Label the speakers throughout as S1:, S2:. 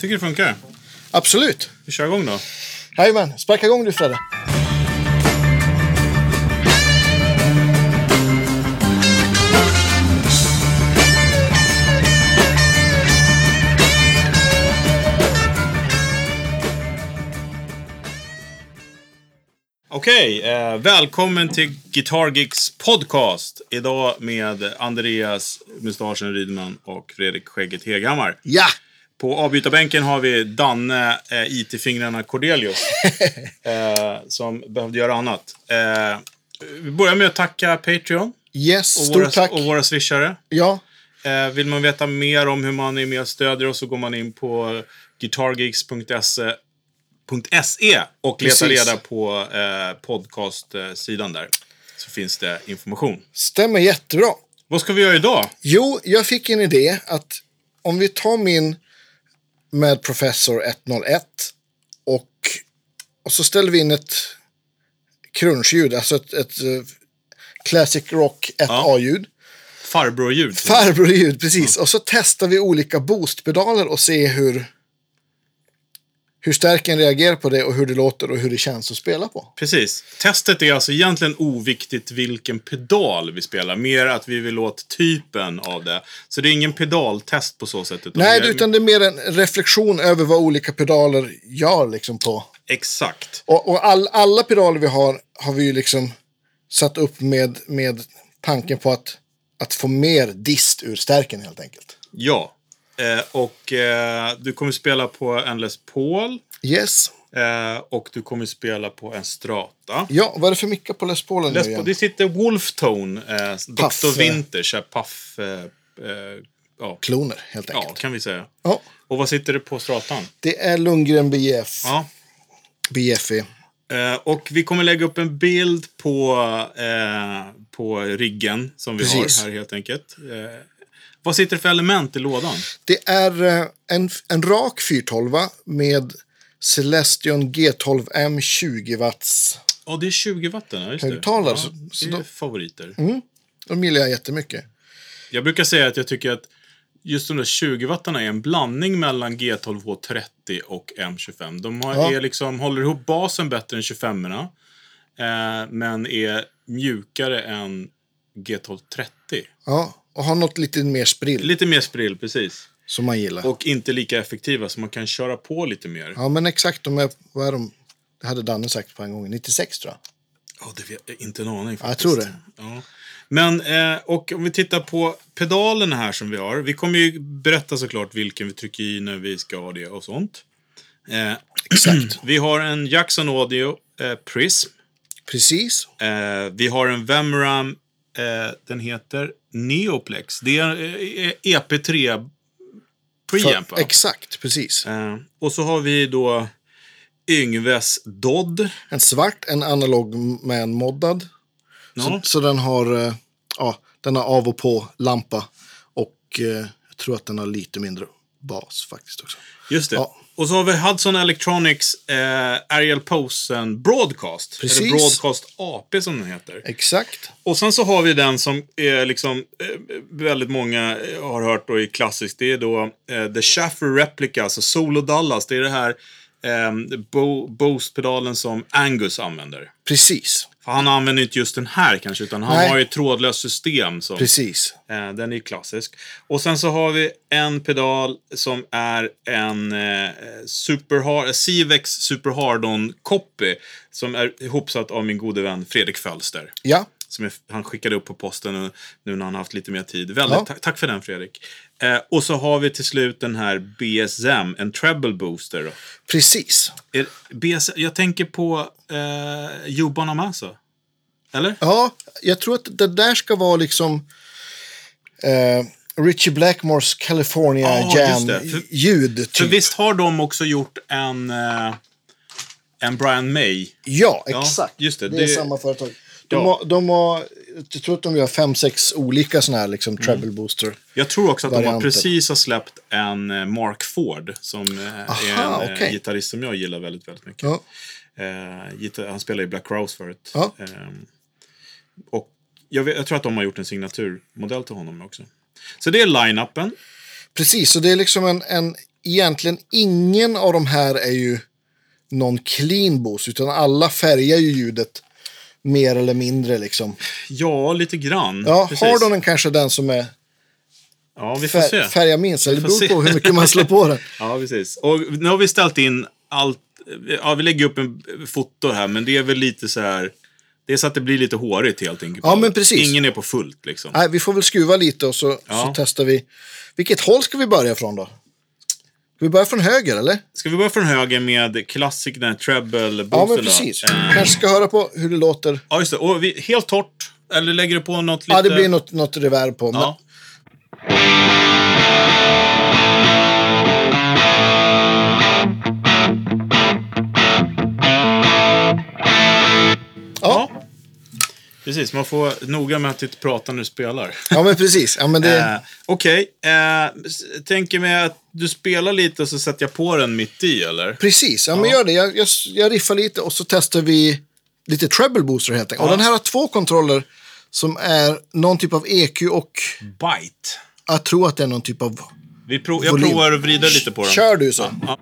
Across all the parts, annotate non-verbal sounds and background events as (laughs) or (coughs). S1: tycker det funkar.
S2: Absolut.
S1: Vi kör igång då.
S2: Jajamän, sparka igång du Fredde.
S1: Okej, eh, välkommen till Guitar Geeks podcast. Idag med Andreas Mustaschen Rydman och Fredrik Skägget Heghammar.
S2: Ja!
S1: På avbytarbänken har vi Danne eh, IT-fingrarna
S2: (laughs)
S1: Cordelius. eh, som behövde göra annat. Eh, vi börjar med att tacka Patreon
S2: Yes,
S1: och
S2: stort
S1: våra,
S2: tack.
S1: och våra swishare.
S2: Ja,
S1: Eh, vill man veta mer om hur man är med och stödjer oss så går man in på guitargeeks.se E och letar
S2: Precis.
S1: reda på eh, podcastsidan där. Så finns det information.
S2: stämmer jättebra.
S1: Vad ska vi göra idag?
S2: Jo, jag fick en idé att om vi tar min med Professor 101 och, och så ställer vi in ett crunchljud, alltså ett, ett eh, Classic Rock 1A-ljud.
S1: Farbror-ljud.
S2: Farbror-ljud, precis. Och så testar vi olika boostpedaler och ser hur, hur stärken reagerar på det och hur det låter och hur det känns att spela på.
S1: Precis. Testet är alltså egentligen oviktigt vilken pedal vi spelar. Mer att vi vill åt typen av det. Så det är ingen pedaltest på så sätt. Utan
S2: Nej,
S1: det är-
S2: utan det är mer en reflektion över vad olika pedaler gör liksom på.
S1: Exakt.
S2: Och, och all, alla pedaler vi har har vi ju liksom satt upp med, med tanken på att, att få mer dist ur stärken helt enkelt.
S1: Ja. Eh, och eh, du kommer spela på en Les Paul.
S2: Yes.
S1: Eh, och du kommer spela på en strata.
S2: Ja, vad är det för micka på Les Paulen nu
S1: Läs på,
S2: igen?
S1: det sitter Wolftone, eh,
S2: Puff,
S1: Dr. Winter, så här Puff... Eh, eh, ja.
S2: Kloner helt
S1: ja,
S2: enkelt.
S1: kan vi säga.
S2: Ja.
S1: Och vad sitter det på stratan?
S2: det är Lundgren BF.
S1: Ja.
S2: BFE.
S1: Eh, och vi kommer lägga upp en bild på, eh, på riggen som vi
S2: Precis.
S1: har här helt enkelt. Eh, vad sitter det för element i lådan?
S2: Det är eh, en, en rak 412 med Celestion G12M 20 watts.
S1: Ja, det är 20 watt den här, just det.
S2: Högtalare,
S1: Ja,
S2: så- så
S1: det är
S2: då-
S1: favoriter.
S2: De gillar jag jättemycket.
S1: Jag brukar säga att jag tycker att just de där 20 wattarna är en blandning mellan G12H30 och M25. De har,
S2: Ja.
S1: är liksom, håller ihop basen bättre än 25 erna eh, men är mjukare än G1230.
S2: Ja, och har något lite mer sprill
S1: Lite mer sprill, precis.
S2: som man gillar.
S1: Och inte lika effektiva, så man kan köra på lite mer.
S2: Ja, men exakt. De är, vad är de? Det hade Danne sagt på en gång. 96 tror jag.
S1: Ja, det vet jag inte en aning
S2: Ja, jag
S1: faktiskt.
S2: tror det.
S1: Ja. Men, eh, och om vi tittar på pedalerna här som vi har. Vi kommer ju berätta såklart vilken vi trycker i när vi ska ha det och sånt. Eh, (clears throat)
S2: Exakt.
S1: vi har en Jackson Audio eh, Prism.
S2: Precis.
S1: Eh, vi har en Vemram, eh, den heter Neoplex. Det är eh, EP3 preamp. va?
S2: För, exakt, precis.
S1: Eh, och så har vi då Yngves Dodd.
S2: En svart, en analog med en moddad.
S1: Ja.
S2: Så, så den har eh, ja, den har av och på lampa och eh, jag tror att den har lite mindre bas faktiskt också.
S1: Just det.
S2: Ja.
S1: Och så har vi Hudson Electronics eh, Ariel Posen Broadcast.
S2: Precis.
S1: Eller Broadcast AP som den heter.
S2: Exakt.
S1: Och sen så har vi den som är liksom, eh, väldigt många eh, har hört då i klassiskt. Det är då eh, The Shaffer Replica, alltså Solo Dallas. Det är det här eh, bo- Boost-pedalen som Angus använder.
S2: Precis.
S1: För han använder inte just den här kanske, utan han
S2: Nej.
S1: har ju ett trådlöst system. Som,
S2: Precis.
S1: eh, den är ju klassisk. Och sen så har vi en pedal som är en eh, super hard, Sivex Super Hardon Copy. Som är ihopsatt av min gode vän Fredrik Fölster
S2: Ja,
S1: som jag, han skickade upp på posten nu, nu när han haft lite mer tid. Väldigt,
S2: Ja.
S1: ta- tack för den Fredrik. Eh, och så har vi till slut den här BSM, en treble booster. Då.
S2: precis.
S1: Är, BSM, jag tänker på eh, Joban Amasa. Eller?
S2: Ja, jag tror att det där ska vara liksom eh, Richie Blackmores California
S1: Ja, just det. För-
S2: Jam-ljud. Typ.
S1: För visst har de också gjort en, eh, en Brian May?
S2: Ja, exakt.
S1: just det.
S2: det,
S1: Det-
S2: är samma företag. De,
S1: Ja.
S2: har, de har, jag tror att de gör fem, sex olika sådana här liksom
S1: Mm.
S2: treble booster.
S1: Jag tror också att de har
S2: Varianten.
S1: precis har släppt en eh, Mark Ford som eh,
S2: Aha,
S1: är en eh,
S2: okej.
S1: gitarrist som jag gillar väldigt, väldigt mycket.
S2: Ja.
S1: Eh, gitar- han spelar i Black Crowes förut.
S2: Ja.
S1: Ehm, och jag, vet, jag tror att de har gjort en signaturmodell till honom också. Så det är line-upen.
S2: Precis, så det är liksom en, en egentligen ingen av de här är ju någon clean boost, utan alla färgar ju ljudet mer eller mindre liksom.
S1: Ja, lite grann.
S2: Ja,
S1: Precis.
S2: har de den kanske den som är
S1: Ja, vi får
S2: fär-
S1: se.
S2: färgar minst, eller det
S1: får
S2: beror
S1: se.
S2: på hur mycket man slår
S1: (laughs)
S2: på den.
S1: Ja, precis. Och nu har vi ställt in allt. Ja, vi lägger upp en foto här, men det är väl lite så här. Det är så att det blir lite hårigt helt enkelt.
S2: Ja, men precis.
S1: Ingen är på fullt liksom.
S2: Nej, vi får väl skruva lite och så,
S1: Ja.
S2: så testar vi. Vilket håll ska vi börja från då? Ska vi börja från höger eller?
S1: Ska vi börja från höger med klassik, den här treble
S2: Ja, men precis.
S1: Eh.
S2: Kanske ska höra på hur det låter.
S1: Ja, just det. Och vi, helt torrt. Eller lägger du på något lite?
S2: Ja, det blir något, något reverb på. Men,
S1: Ja.
S2: ja.
S1: Ja. Precis, man får vara noga med att inte prata när du spelar.
S2: ja, men precis. (laughs) Ja, men det,
S1: Eh, Okej, eh, s- tänker mig att du spelar lite så sätter jag på den mitt i, eller?
S2: Precis, ja, men gör det. Jag, jag, jag riffar lite och så testar vi lite treble booster helt enkelt. Och den här har två kontroller som är någon typ av EQ och
S1: Bite.
S2: jag tror att det är någon typ av...
S1: Vi prov, jag
S2: Volym.
S1: provar att vrida lite på den.
S2: Kör du så.
S1: Ja.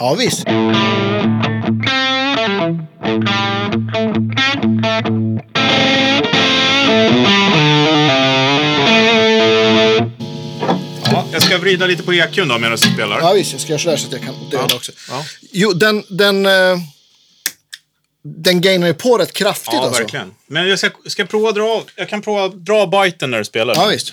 S2: Ja, visst.
S1: Ja, jag ska vrida lite på EQn då medan du spelar.
S2: Ja, visst. Jag ska göra sådär så att jag kan döda
S1: Ja.
S2: också.
S1: Ja.
S2: Jo, den... den eh, den gainar ju på rätt kraftigt
S1: Ja,
S2: alltså.
S1: verkligen. Men jag ska, ska prova att dra av- Jag kan prova att dra av biten när du spelar.
S2: Ja, visst.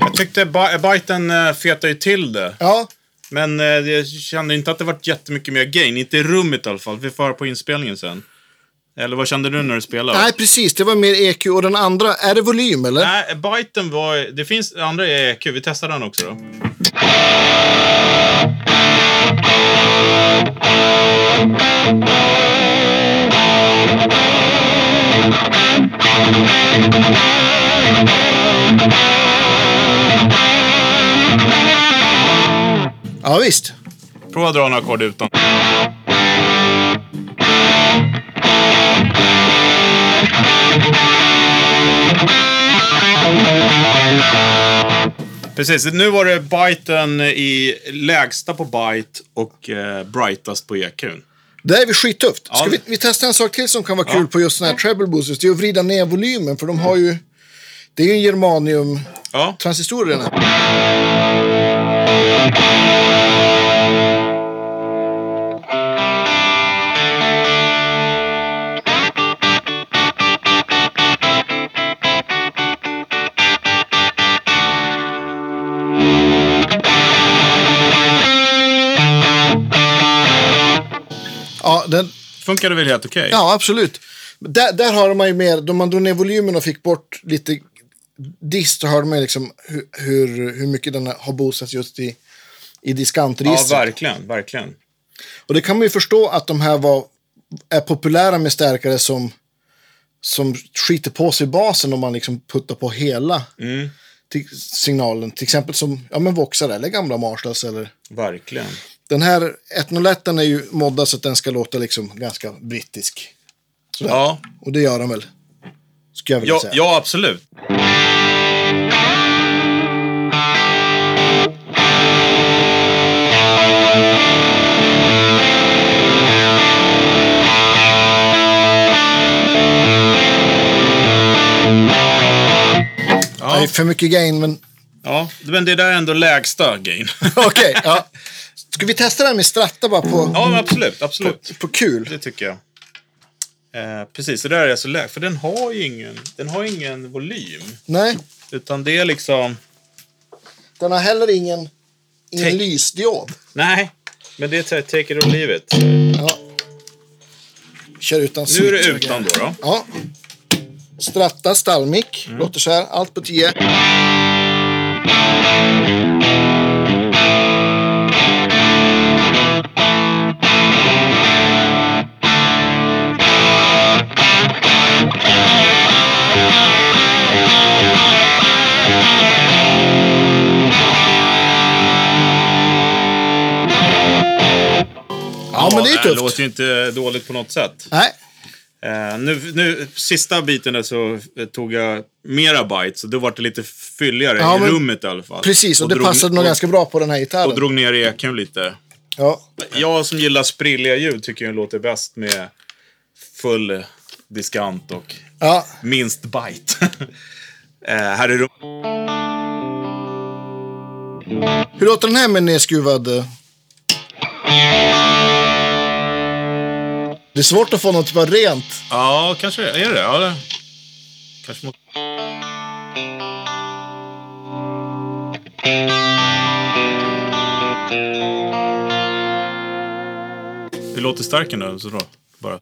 S1: Jag tyckte ba- biten äh, fetade ju till det.
S2: Ja,
S1: Men eh, jag kände inte att det vart jättemycket mer gain. Inte i rummet i alla fall. Vi får höra på inspelningen sen. Eller vad kände du när du spelade?
S2: nej precis. Det var mer EQ. Och den andra, är det volym eller?
S1: Nej, biten var... Det finns andra EQ. Vi testar den också då.
S2: Ja, visst.
S1: Prova att dra några ackord utan. Precis, nu var det biten i lägsta på byte och eh, brightast på EQn.
S2: Det är väl skittufft. Ska
S1: Ja.
S2: vi, vi testa en sak till som kan vara kul på just den här treble boosters? Det är att vrida ner volymen för de har ju... Det är ju en germanium-transistor
S1: Ja,
S2: i den här. Ja, den,
S1: funkade väl helt okej?
S2: ja absolut. Där, där har man ju mer, då man drog ner volymen och fick bort lite dist så hörde man ju liksom hur, hur, hur mycket den har boostats just i, i
S1: ja,
S2: diskantregistret.
S1: verkligen, verkligen.
S2: Och det kan man ju förstå att de här var, är populära med stärkare som, som skiter på sig basen om man liksom puttar på hela
S1: Mm.
S2: till signalen. Till exempel som ja, men Voxar eller gamla Marshalls. Eller.
S1: Verkligen.
S2: Den här 101 är ju moddad så att den ska låta liksom ganska brittisk.
S1: Ja,
S2: Och det gör den väl. Skulle jag vilja
S1: ja,
S2: säga.
S1: ja, absolut.
S2: Det är
S1: Ja,
S2: för mycket gain men (laughs)
S1: ja, men det där är ändå lägsta gain. (laughs)
S2: okej. ja. Ska vi testa det här med stratta bara på,
S1: ja, men absolut, absolut.
S2: på kul?
S1: Det tycker jag. Eh, precis, det där är så lägst. För den har ju ingen, den har ingen volym.
S2: Nej,
S1: Utan det är liksom...
S2: den har heller ingen, ingen
S1: Tänk-
S2: lysdiod.
S1: Nej,
S3: Men det är så här, take it or leave it.
S2: Ja. Kör utan
S1: Nu är det
S2: switch.
S1: utan då. då.
S2: Ja. Stratta stallmick.
S1: Mm.
S2: Låter så här. Allt på 10. Ja, men det är
S1: Det
S2: tufft.
S1: låter ju inte dåligt på något sätt.
S2: Nej.
S1: Eh, nu, nu, sista biten där så eh, tog jag mera byte, så då var det lite fylligare
S2: Ja,
S1: i
S2: men-
S1: rummet i alla fall.
S2: Precis, och, det
S1: drog-
S2: passade nog
S1: och,
S2: ganska bra på den här gitarren.
S1: och drog ner eken lite.
S2: ja.
S1: Jag som gillar sprilliga ljud tycker ju den låter bäst med full diskant och
S2: Ja.
S1: minst byte. (laughs) eh, här är rum...
S2: Hur låter den här med nedskruvad... eh? Det är svårt att få något typ av rent.
S3: Ja, kanske det. Är det ja, det? Kanske mot...
S1: Det låter starkt nu, så då. Bara.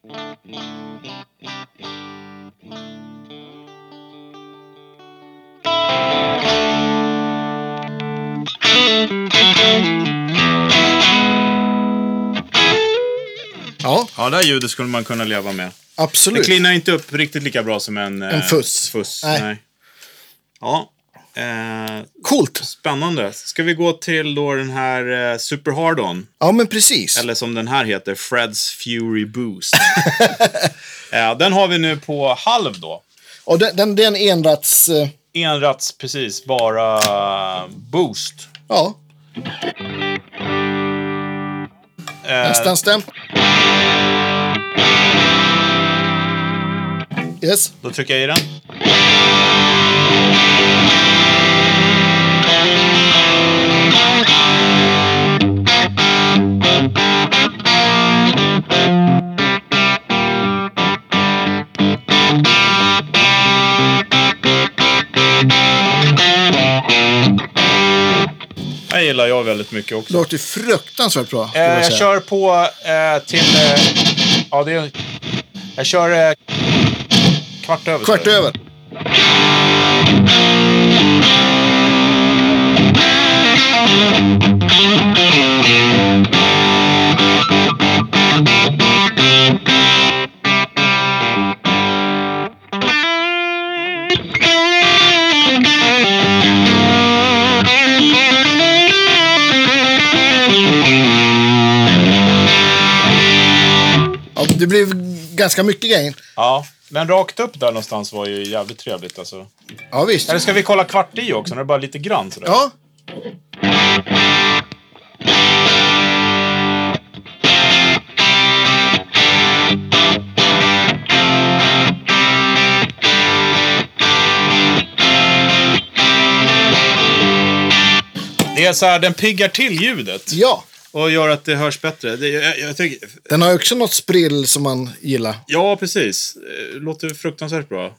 S2: Ja,
S1: Ja, det här ljudet skulle man kunna leva med. Det
S2: absolut.
S1: klinar inte upp riktigt lika bra som en... eh,
S2: En fuss.
S1: Nej.
S2: Nej.
S1: Ja. Eh,
S2: Coolt.
S1: spännande. Ska vi gå till då den här eh, Super Hard-On?
S2: Ja, men precis.
S1: Eller som den här heter, Freds Fury Boost. eh, den har vi nu på halv då.
S2: Och den, den, det är en enrats... eh,
S1: Enrats precis, bara boost.
S2: Ja,
S1: Eh.
S2: nästan stämt. Yes.
S1: Då trycker jag i den. Det här gillar jag väldigt mycket också.
S2: Låter fruktansvärt bra. skulle
S1: Eh,
S2: jag
S1: jag
S2: säga.
S1: kör på eh, till... Eh, ja, det är, jag kör eh, kvart över.
S2: Kvart över. Ja, det blev ganska mycket grejer.
S1: Ja, men rakt upp där någonstans var ju jävligt trevligt alltså.
S2: Ja, visst.
S1: Eller ska vi kolla kvart i också? När det är bara lite grann sådär.
S2: Ja.
S1: Det är så här, den piggar till ljudet.
S2: Ja.
S1: Och gör att det hörs bättre. Det, jag, jag tycker,
S2: Den har också något sprill som man gillar.
S1: ja, precis. Eh, Låter fruktansvärt bra.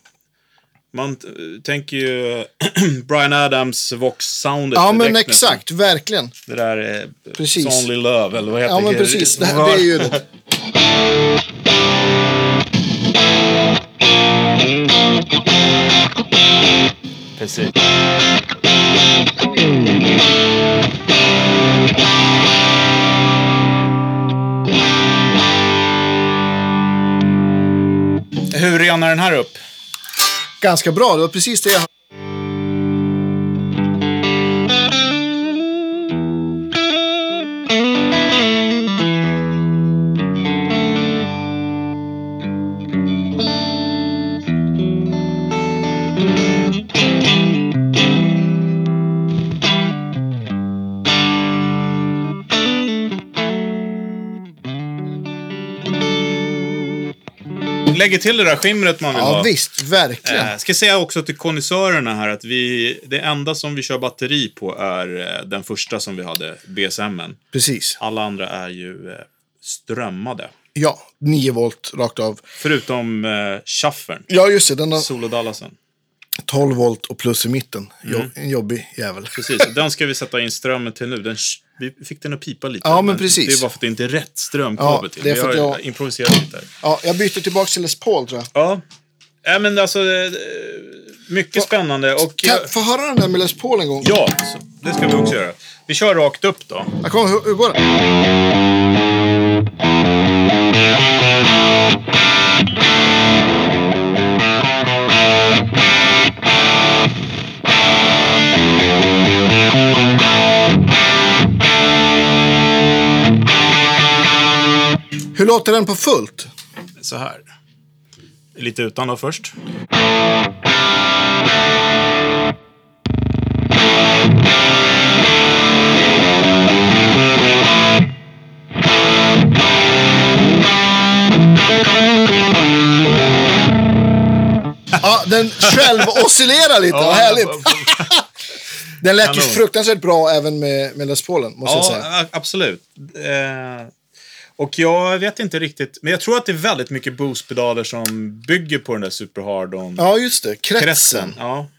S1: Man t- tänker ju (clears throat) Brian Adams Vox-soundet.
S2: Ja,
S1: direkt
S2: men
S1: nästan.
S2: exakt. Verkligen.
S1: Det där eh,
S2: Precis.
S1: It's Only Love, eller vad heter
S2: Ja, men
S1: det?
S2: precis. Det, här, det är ljudet.
S1: Precis. Hur renar den här upp?
S2: Ganska bra. Det var precis det jag...
S1: Lägger till det där skimret man vill
S2: Ja,
S1: ha.
S2: visst. Verkligen.
S1: Eh, ska säga också till konnässörerna här att vi, det enda som vi kör batteri på är eh, den första som vi hade, BSMen.
S2: Precis.
S1: Alla andra är ju eh, strömmade.
S2: Ja, 9 volt rakt av.
S1: Förutom eh, shuffern,
S2: Ja, just det. Den har...
S1: solodallasen.
S2: 12 volt och plus i mitten. Jo, En jobbig jävel.
S1: Precis, och den ska vi sätta in strömmen till nu. Den, vi fick den att pipa lite.
S2: Ja, men precis.
S1: Det är bara för att det inte är rätt strömkabel
S2: Ja,
S1: till.
S2: det är för
S1: vi
S2: att
S1: har
S2: jag-
S1: improviserat lite här.
S2: Ja, jag byter tillbaka till Les Paul tror jag.
S1: Ja. Nej, men alltså, eh, mycket spännande. Och,
S2: Kan jag få höra den där med Les Paul en gång?
S1: ja, så, det ska vi också göra. Vi kör rakt upp då.
S2: Jag kommer, hur, hur går det? Hur låter den på fullt?
S1: Så här. Lite utan då först.
S2: Ja, den själv oscillerar lite, vad härligt. Den lät ju
S1: Kanon.
S2: fruktansvärt bra även med, med Les Paulen, måste jag säga.
S1: Ja, a- absolut. Eh, och jag vet inte riktigt, men jag tror att det är väldigt mycket boostpedaler som bygger på den där superhardon.
S2: Ja, just det. Kretsen.
S1: Kretsen. Ja.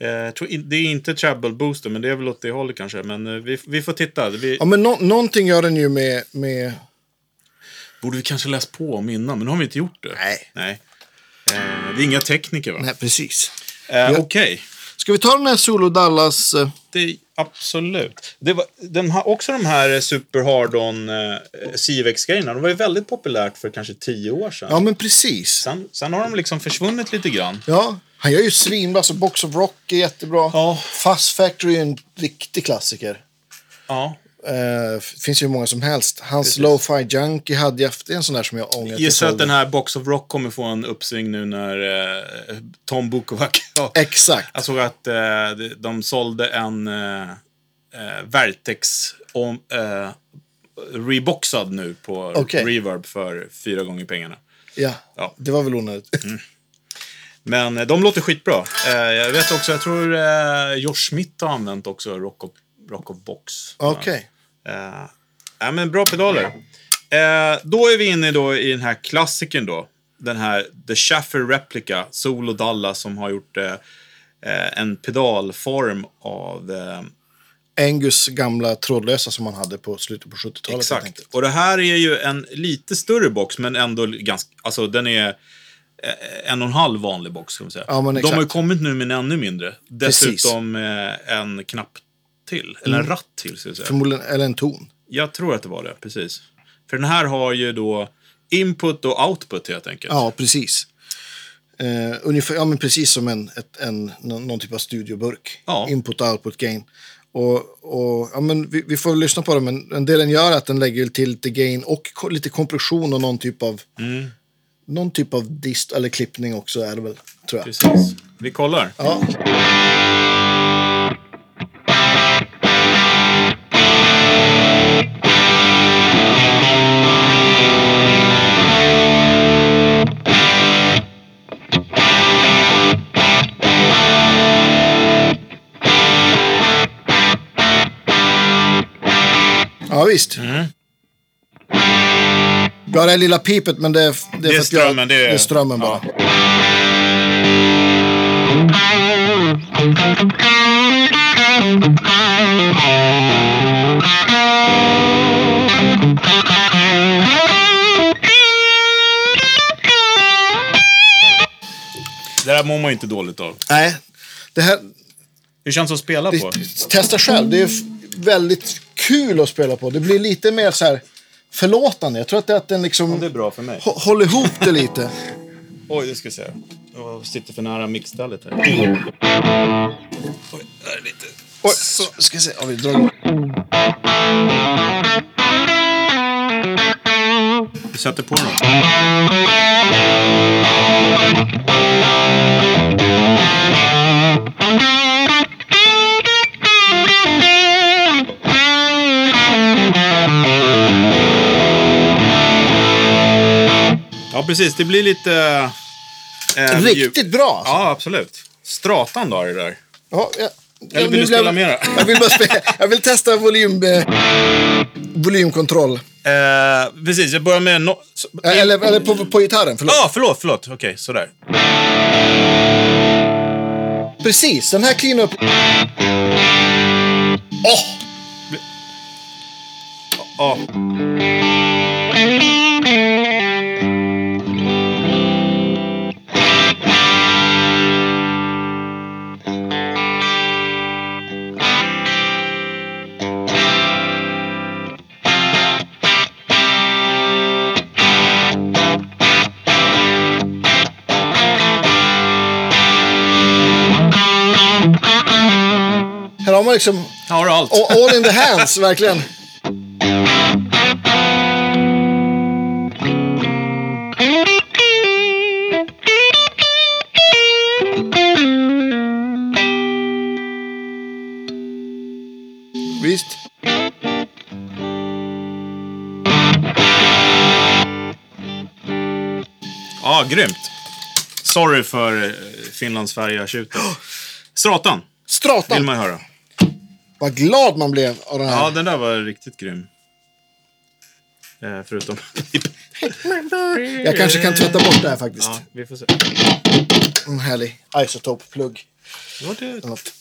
S1: Eh, jag tror in- det är inte treble booster, men det är väl åt det hållet kanske. Men eh, vi, vi får titta. Vi,
S2: Ja, men nå- någonting gör den ju med... med...
S1: Borde vi kanske läst på om innan, men nu har vi inte gjort det.
S2: Nej.
S1: Nej. Eh, vi är inga tekniker, va?
S2: Nej, precis.
S1: Eh, Okej.
S2: Ska vi ta den här Solo Dallas? eh?
S1: Det, absolut. Det var, den har också de här eh, Super Hardon eh, CVX-grejerna. De var ju väldigt populärt för kanske tio år sedan.
S2: Ja, men precis.
S1: Sen, sen har de liksom försvunnit lite grann.
S2: Ja, han gör ju svinbra. Så Box of Rock är jättebra.
S1: Ja.
S2: Fuzz Factory är en riktig klassiker.
S1: Ja.
S2: Eh, f- finns ju hur många som helst. Hans Lo-Fi Junkie hade jag... Det är en sån där som jag ångrar. att jag
S1: Gissar att
S2: sålde.
S1: den här Box of Rock kommer få en uppsving nu när eh, Tom Bukovac... (laughs)
S2: Exakt.
S1: Jag såg att eh, de- de sålde en eh, eh, Vertex om, eh, reboxad nu på
S2: Okej.
S1: Reverb för fyra gånger pengarna.
S2: Ja.
S1: Ja. Mm.
S2: det var väl onödigt.
S1: Men eh, de låter skitbra. Eh, jag vet också, jag tror eh, Josh Smith har använt också Rock of, rock of Box.
S2: (laughs) Okej.
S1: Eh, ja, men bra pedaler. Eh, då är vi inne då i den här klassikern då. Den här The Shaffer Replica, Solo Dalla som har gjort eh, eh, en pedalform av eh,
S2: Angus gamla trådlösa som han hade på slutet på 70-talet. helt
S1: Exakt.
S2: enkelt.
S1: Och det här är ju en lite större box, men ändå ganska... Alltså, den är eh, en och en halv vanlig box, ska man säga.
S2: Ja, men
S1: De
S2: exakt.
S1: har ju kommit nu med en ännu mindre.
S2: Precis. Mm.
S1: Dessutom eh, en knapp till. Eller en ratt till, ska jag säga.
S2: Förmodligen, eller en ton.
S1: Jag tror att det var det, precis. För den här har ju då input och output, helt enkelt.
S2: Ja, precis. Eh, ungefär, ja, men precis som en, ett, en, någon någon typ av studioburk.
S1: Ja.
S2: Input och output gain. Och, och, ja, men vi, vi får lyssna på det, men en del den gör är att den lägger till lite gain och ko- lite kompression och någon typ av,
S1: Mm.
S2: någon typ av dist eller klippning också är det väl, tror jag.
S1: Precis. Vi kollar.
S2: Ja. ja, visst.
S1: Mm.
S2: Ja, det här lilla pipet, men det är, det är,
S1: Det är
S2: för att jag-
S1: strömmen, det är-
S2: det är strömmen bara.
S1: Ja. Det där mår man ju inte dåligt av.
S2: Nej, det här...
S1: Hur känns det att spela på?
S2: Testa själv. Det är f- väldigt kul att spela på. Det blir lite mer så här förlåtande. Jag tror att, det är att den liksom
S1: Det är bra för mig.
S2: hå- håller ihop det lite.
S1: Oj, det ska jag säga. Jag sitter för nära mixstället här. Oj, där är lite...
S2: Oj, så ska jag se. Ja, vi drar igång.
S1: Vi sätter på den. Ja, precis. Det blir lite... eh, mjuk-
S2: Riktigt bra. alltså.
S1: Ja, absolut. Stratan då, det där.
S2: Ja, ja.
S1: Eller
S2: Ja,
S1: vill
S2: nu
S1: du
S2: blev-
S1: spela mera?
S2: (laughs) Jag vill, bara spela, jag vill testa volym, eh, volymkontroll.
S1: Eh, precis, jag börjar med... No- så- Ah,
S2: Eh, Eller, eller på, på gitarren, förlåt.
S1: Ja, förlåt, förlåt. Okej, sådär.
S2: Precis, den här cleanup... Åh!
S1: Ja.
S2: Oh! Här har man liksom
S1: Här har du allt.
S2: a- all in the hands, verkligen. Visst.
S1: Ja, grymt. Sorry för eh, Finland-Sverige-tjutet. Stratan vill
S2: Stratan.
S1: man höra.
S2: Vad glad man blev av den här.
S1: Ja, den där var riktigt grym. Eh, förutom...
S2: Jag kanske kan tvätta bort det här faktiskt.
S1: Ja, vi får se.
S2: En härlig isotope-plugg.
S1: Var det...
S2: eller något.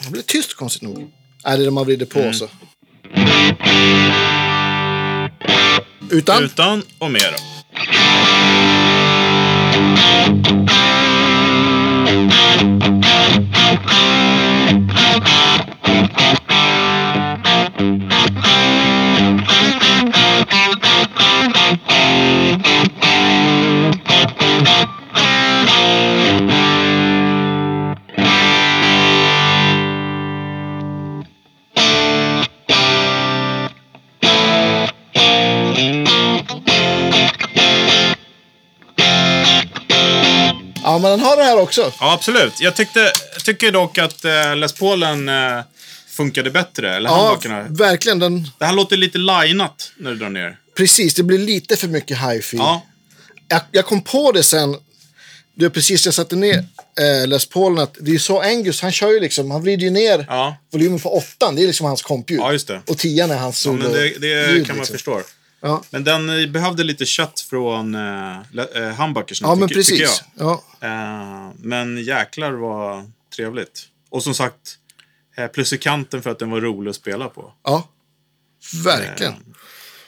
S2: Det blir tyst konstigt nog. Nej, det är när man vrider på
S1: Mm.
S2: så. Utan?
S1: Utan och med då.
S2: Ja, men den har det här också.
S1: Ja, absolut. Jag tyckte, tycker dock att eh, Les Paulen eh, funkade bättre. Eller
S2: Ja,
S1: handbakarna.
S2: verkligen. Den,
S1: Det här låter lite lineat när du drar ner.
S2: precis, det blir lite för mycket hifi.
S1: Ja,
S2: Jag, jag kom på det sen. Det är precis, jag satte ner eh, Les Paulen. Att det är så Angus, han kör ju liksom, han vrider ju ner
S1: Ja.
S2: volymen på åttan. Det är liksom hans kompljud.
S1: Ja, just det.
S2: Och tian är hans
S1: ja
S2: solo.
S1: men det, det kan man
S2: liksom.
S1: förstå.
S2: Ja,
S1: Men den eh, behövde lite kött från eh, Le- eh, Humbuckers.
S2: ja men
S1: tycker- tycker
S2: precis.
S1: jag.
S2: Ja.
S1: Eh, men jäklar vad trevligt. Och som sagt, eh, plus i kanten för att den var rolig att spela på.
S2: ja, verkligen.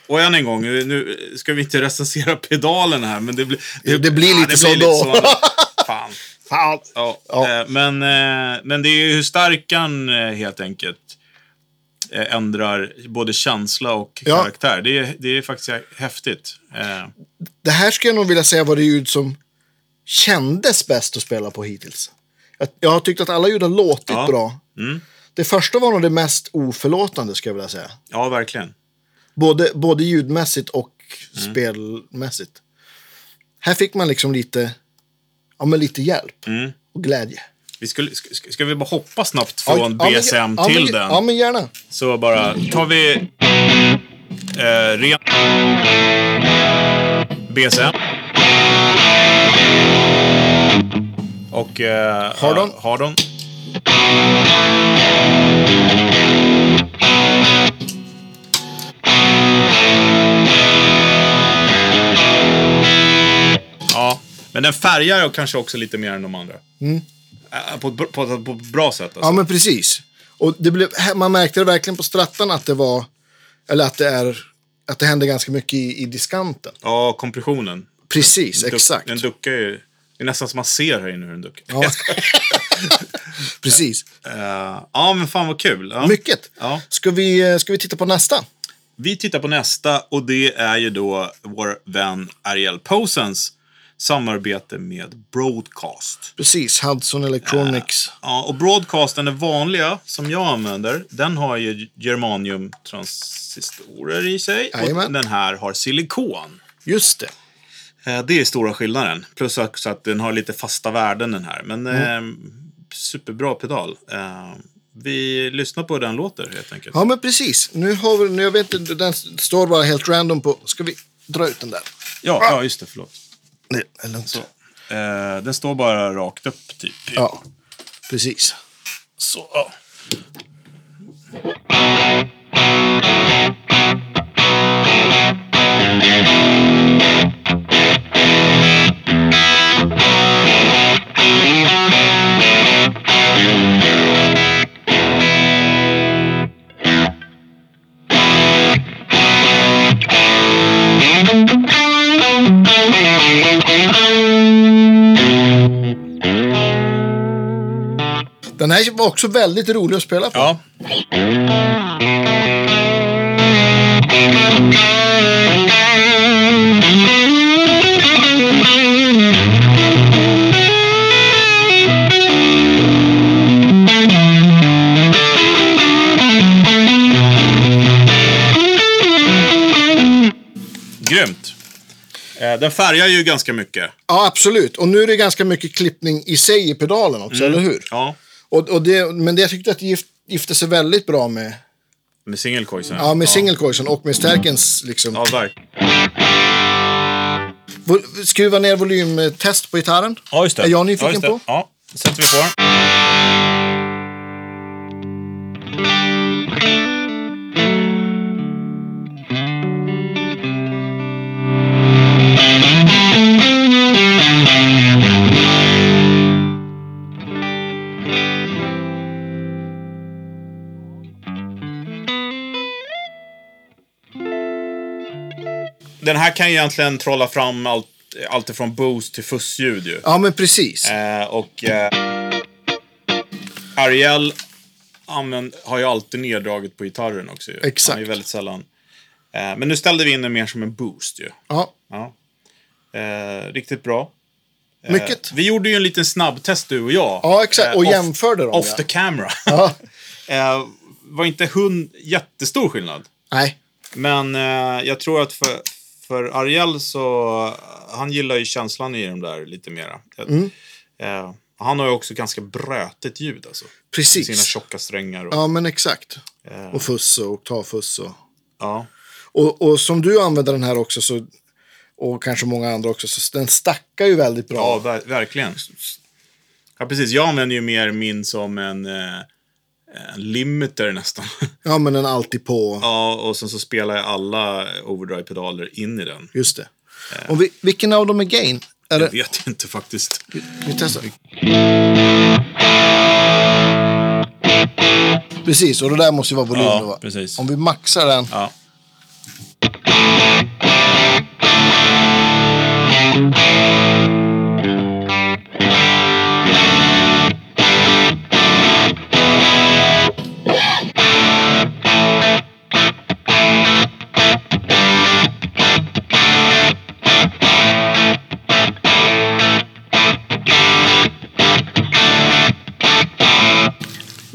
S1: Och än en gång, nu ska vi inte recensera pedalen här, men det, blir
S2: Det blir lite så då.
S1: Fan.
S2: Fan.
S1: Ja,
S2: (laughs) Ja.
S1: eh, Men, eh, men det är ju hur starkan eh, helt enkelt eh, ändrar både känsla och
S2: Ja.
S1: karaktär. Det är, det är faktiskt häftigt. Eh,
S2: Det här skulle jag nog vilja säga var det ljud som kändes bäst att spela på hittills. Jag, jag har tyckt att alla ljud har låtit
S1: Ja.
S2: bra.
S1: Mm.
S2: Det första var nog det mest oförlåtande skulle jag vilja säga.
S1: Ja, verkligen.
S2: Både, både ljudmässigt och
S1: Mm.
S2: spelmässigt. Här fick man liksom lite, ja, men lite hjälp
S1: Mm.
S2: och glädje.
S1: Vi skulle, ska, ska vi bara hoppa snabbt
S2: Ja,
S1: från
S2: ja, men-
S1: BSM
S2: ja, men-
S1: till den?
S2: Ja, men gärna.
S1: Så bara tar vi eh, ren... BSM. Och eh,
S2: Hardon.
S1: ja, Hardon. Ja, men den färgar och kanske också lite mer än de andra. Eh, På, ett br- på, ett- på ett bra sätt alltså.
S2: Ja, men precis. Och det blev, man märkte det verkligen på strattan att det var, eller att det är, att det hände ganska mycket i, i diskanten.
S1: Ja, kompressionen.
S2: Precis,
S1: Duck-
S2: exakt.
S1: Den duckar ju. Det är nästan som man ser här inne hur den duckar. Ja,
S2: Ja. (laughs) Precis.
S1: Eh, ja men fan vad kul. Ja.
S2: Mycket.
S1: Ja.
S2: Ska vi, eh, ska vi titta på nästa?
S1: Vi tittar på nästa och det är ju då vår vän Ariel Posens samarbete med Broadcast.
S2: Precis, Hudson Electronics.
S1: Ja, och Broadcast, den är vanliga som jag använder, den har ju germaniumtransistorer i sig. Och
S2: Jajamän.
S1: den här har silikon.
S2: Just det.
S1: Eh, Det är stora skillnaden. Plus också att den har lite fasta värden den här. Men eh, superbra pedal. Eh, vi lyssnar på hur den låter helt enkelt.
S2: Ja, men precis. Nu har vi, nu, jag vet inte, den står bara helt random på... Ska vi dra ut den där?
S1: Ja, ja just det. Förlåt.
S2: Nej, eller inte.
S1: Så. Eh, den står bara rakt upp typ.
S2: Ja, precis.
S1: Så, ja.
S2: Den här var också väldigt rolig att spela på.
S1: Ja. Grymt. Eh, Den färgar ju ganska mycket.
S2: Ja, absolut. Och nu är det ganska mycket klippning i sig i pedalen också,
S1: Mm.
S2: eller hur?
S1: Ja.
S2: Och, och det, men det jag tyckte att det gift, gifte sig väldigt bra med,
S1: Med singelcoisen.
S2: ja, med singelcoisen och med stärkens. Liksom.
S1: Ja, verk.
S2: Vol- Skruva ner volymtest på gitarren.
S1: ja, just det.
S2: Är jag
S1: ja,
S2: nyfiken
S1: just det.
S2: på?
S1: Ja, det sätter vi på. Den här kan ju egentligen trolla fram allt, allt ifrån boost till fussljud ju.
S2: Ja, men precis.
S1: Eh, och eh, Ariel använd, har ju alltid neddraget på gitarren också. Ju. Han är
S2: Exakt.
S1: ju väldigt sällan. Eh, men nu ställde vi in den mer som en boost ju.
S2: Ja,
S1: Ja. Eh, riktigt bra.
S2: mycket.
S1: Eh, Vi gjorde ju en liten snabbtest du och jag. Eh,
S2: Ja, exakt. Och
S1: off-
S2: jämförde dem,
S1: Off
S2: ja.
S1: the camera.
S2: Ja.
S1: eh, var inte hund jättestor skillnad.
S2: Nej,
S1: Men eh, jag tror att för, för Ariel så... Han gillar ju känslan i dem där lite mera. Eh, han har ju också ganska brötigt ljud alltså. Med sina
S2: precis.
S1: tjocka strängar och... Ja.
S2: Ja, men exakt.
S1: Eh.
S2: Och fuss och oktavfuss och...
S1: ja.
S2: Och, och som du använder den här också, så, och kanske många andra också, så den stackar ju väldigt bra.
S1: ver verkligen. Ja, precis. Jag använder ju mer min som en... Eh, en limiter nästan. (laughs)
S2: Ja, men den är alltid på.
S1: ja, och sen så spelar jag alla overdrive-pedaler in i den.
S2: Just det.
S1: Eh.
S2: Och vi, vilken av dem är gain? Är
S1: Jag
S2: det,
S1: vet jag inte faktiskt.
S2: vi testar. Precis, och det där måste ju vara volymen.
S1: Ja,
S2: va?
S1: precis.
S2: Om vi maxar den.
S1: Ja.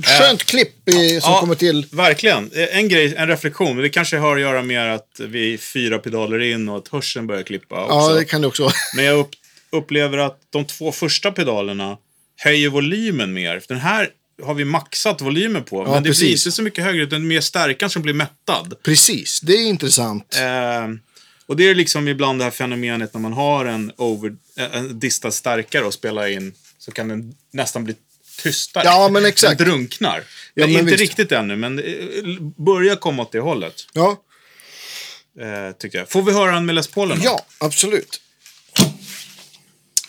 S2: Skönt klipp eh, som
S1: Ja.
S2: kommer till.
S1: Verkligen. Eh, En grej, en reflektion. Det kanske har att göra med att vi är fyra pedaler in och att hörseln börjar klippa också.
S2: Ja, det kan det också (laughs) vara.
S1: Men jag upp, upplever att de två första pedalerna höjer volymen mer. Den här har vi maxat volymen på, men det blir
S2: precis.
S1: inte så mycket högre, utan det är mer stärkan som blir mättad.
S2: Precis, det är intressant.
S1: Ehm, och det är liksom ibland det här fenomenet när man har en, over, eh, en distad stärkare och spelar in så kan den nästan bli tystare.
S2: Ja, men exakt.
S1: Den drunknar.
S2: Ja,
S1: men
S2: men
S1: inte
S2: visst.
S1: riktigt ännu, men eh, börjar komma åt det hållet.
S2: Ja,
S1: Eh, tycker jag. Får vi höra en med Les Paulen? då?
S2: ja absolut.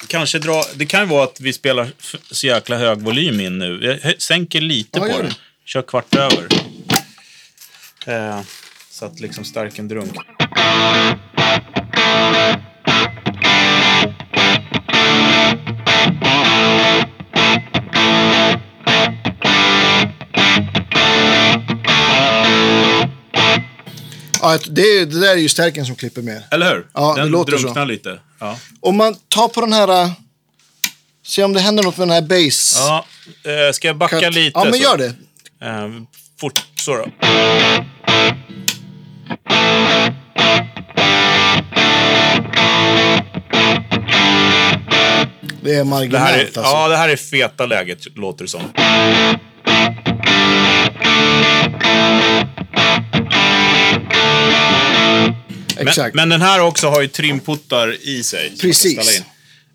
S1: Kanske dra, det kan ju vara att vi spelar f- så jäkla hög volym in nu. Jag hö- sänker lite
S2: Ja,
S1: på
S2: gör
S1: den.
S2: det.
S1: Kör kvart över. Eh, så att liksom stärken drunk.
S2: Ja, det, är- det där är ju stärken som klipper mer.
S1: Eller hur?
S2: Ja,
S1: den
S2: det låter så.
S1: drunknar lite. Ja.
S2: Om man tar på den här... äh, Se om det händer något med den här base.
S1: ja eh, ska jag backa
S2: Cut.
S1: lite?
S2: ja, men
S1: så?
S2: gör det.
S1: Eh, fort så då.
S2: Det är
S1: Det
S2: marginellt
S1: här är,
S2: alltså.
S1: ja, det här är feta läget, låter det som. Men,
S2: Exakt.
S1: men den här också har ju trimputtar i sig. som man kan
S2: Precis.
S1: ställa in.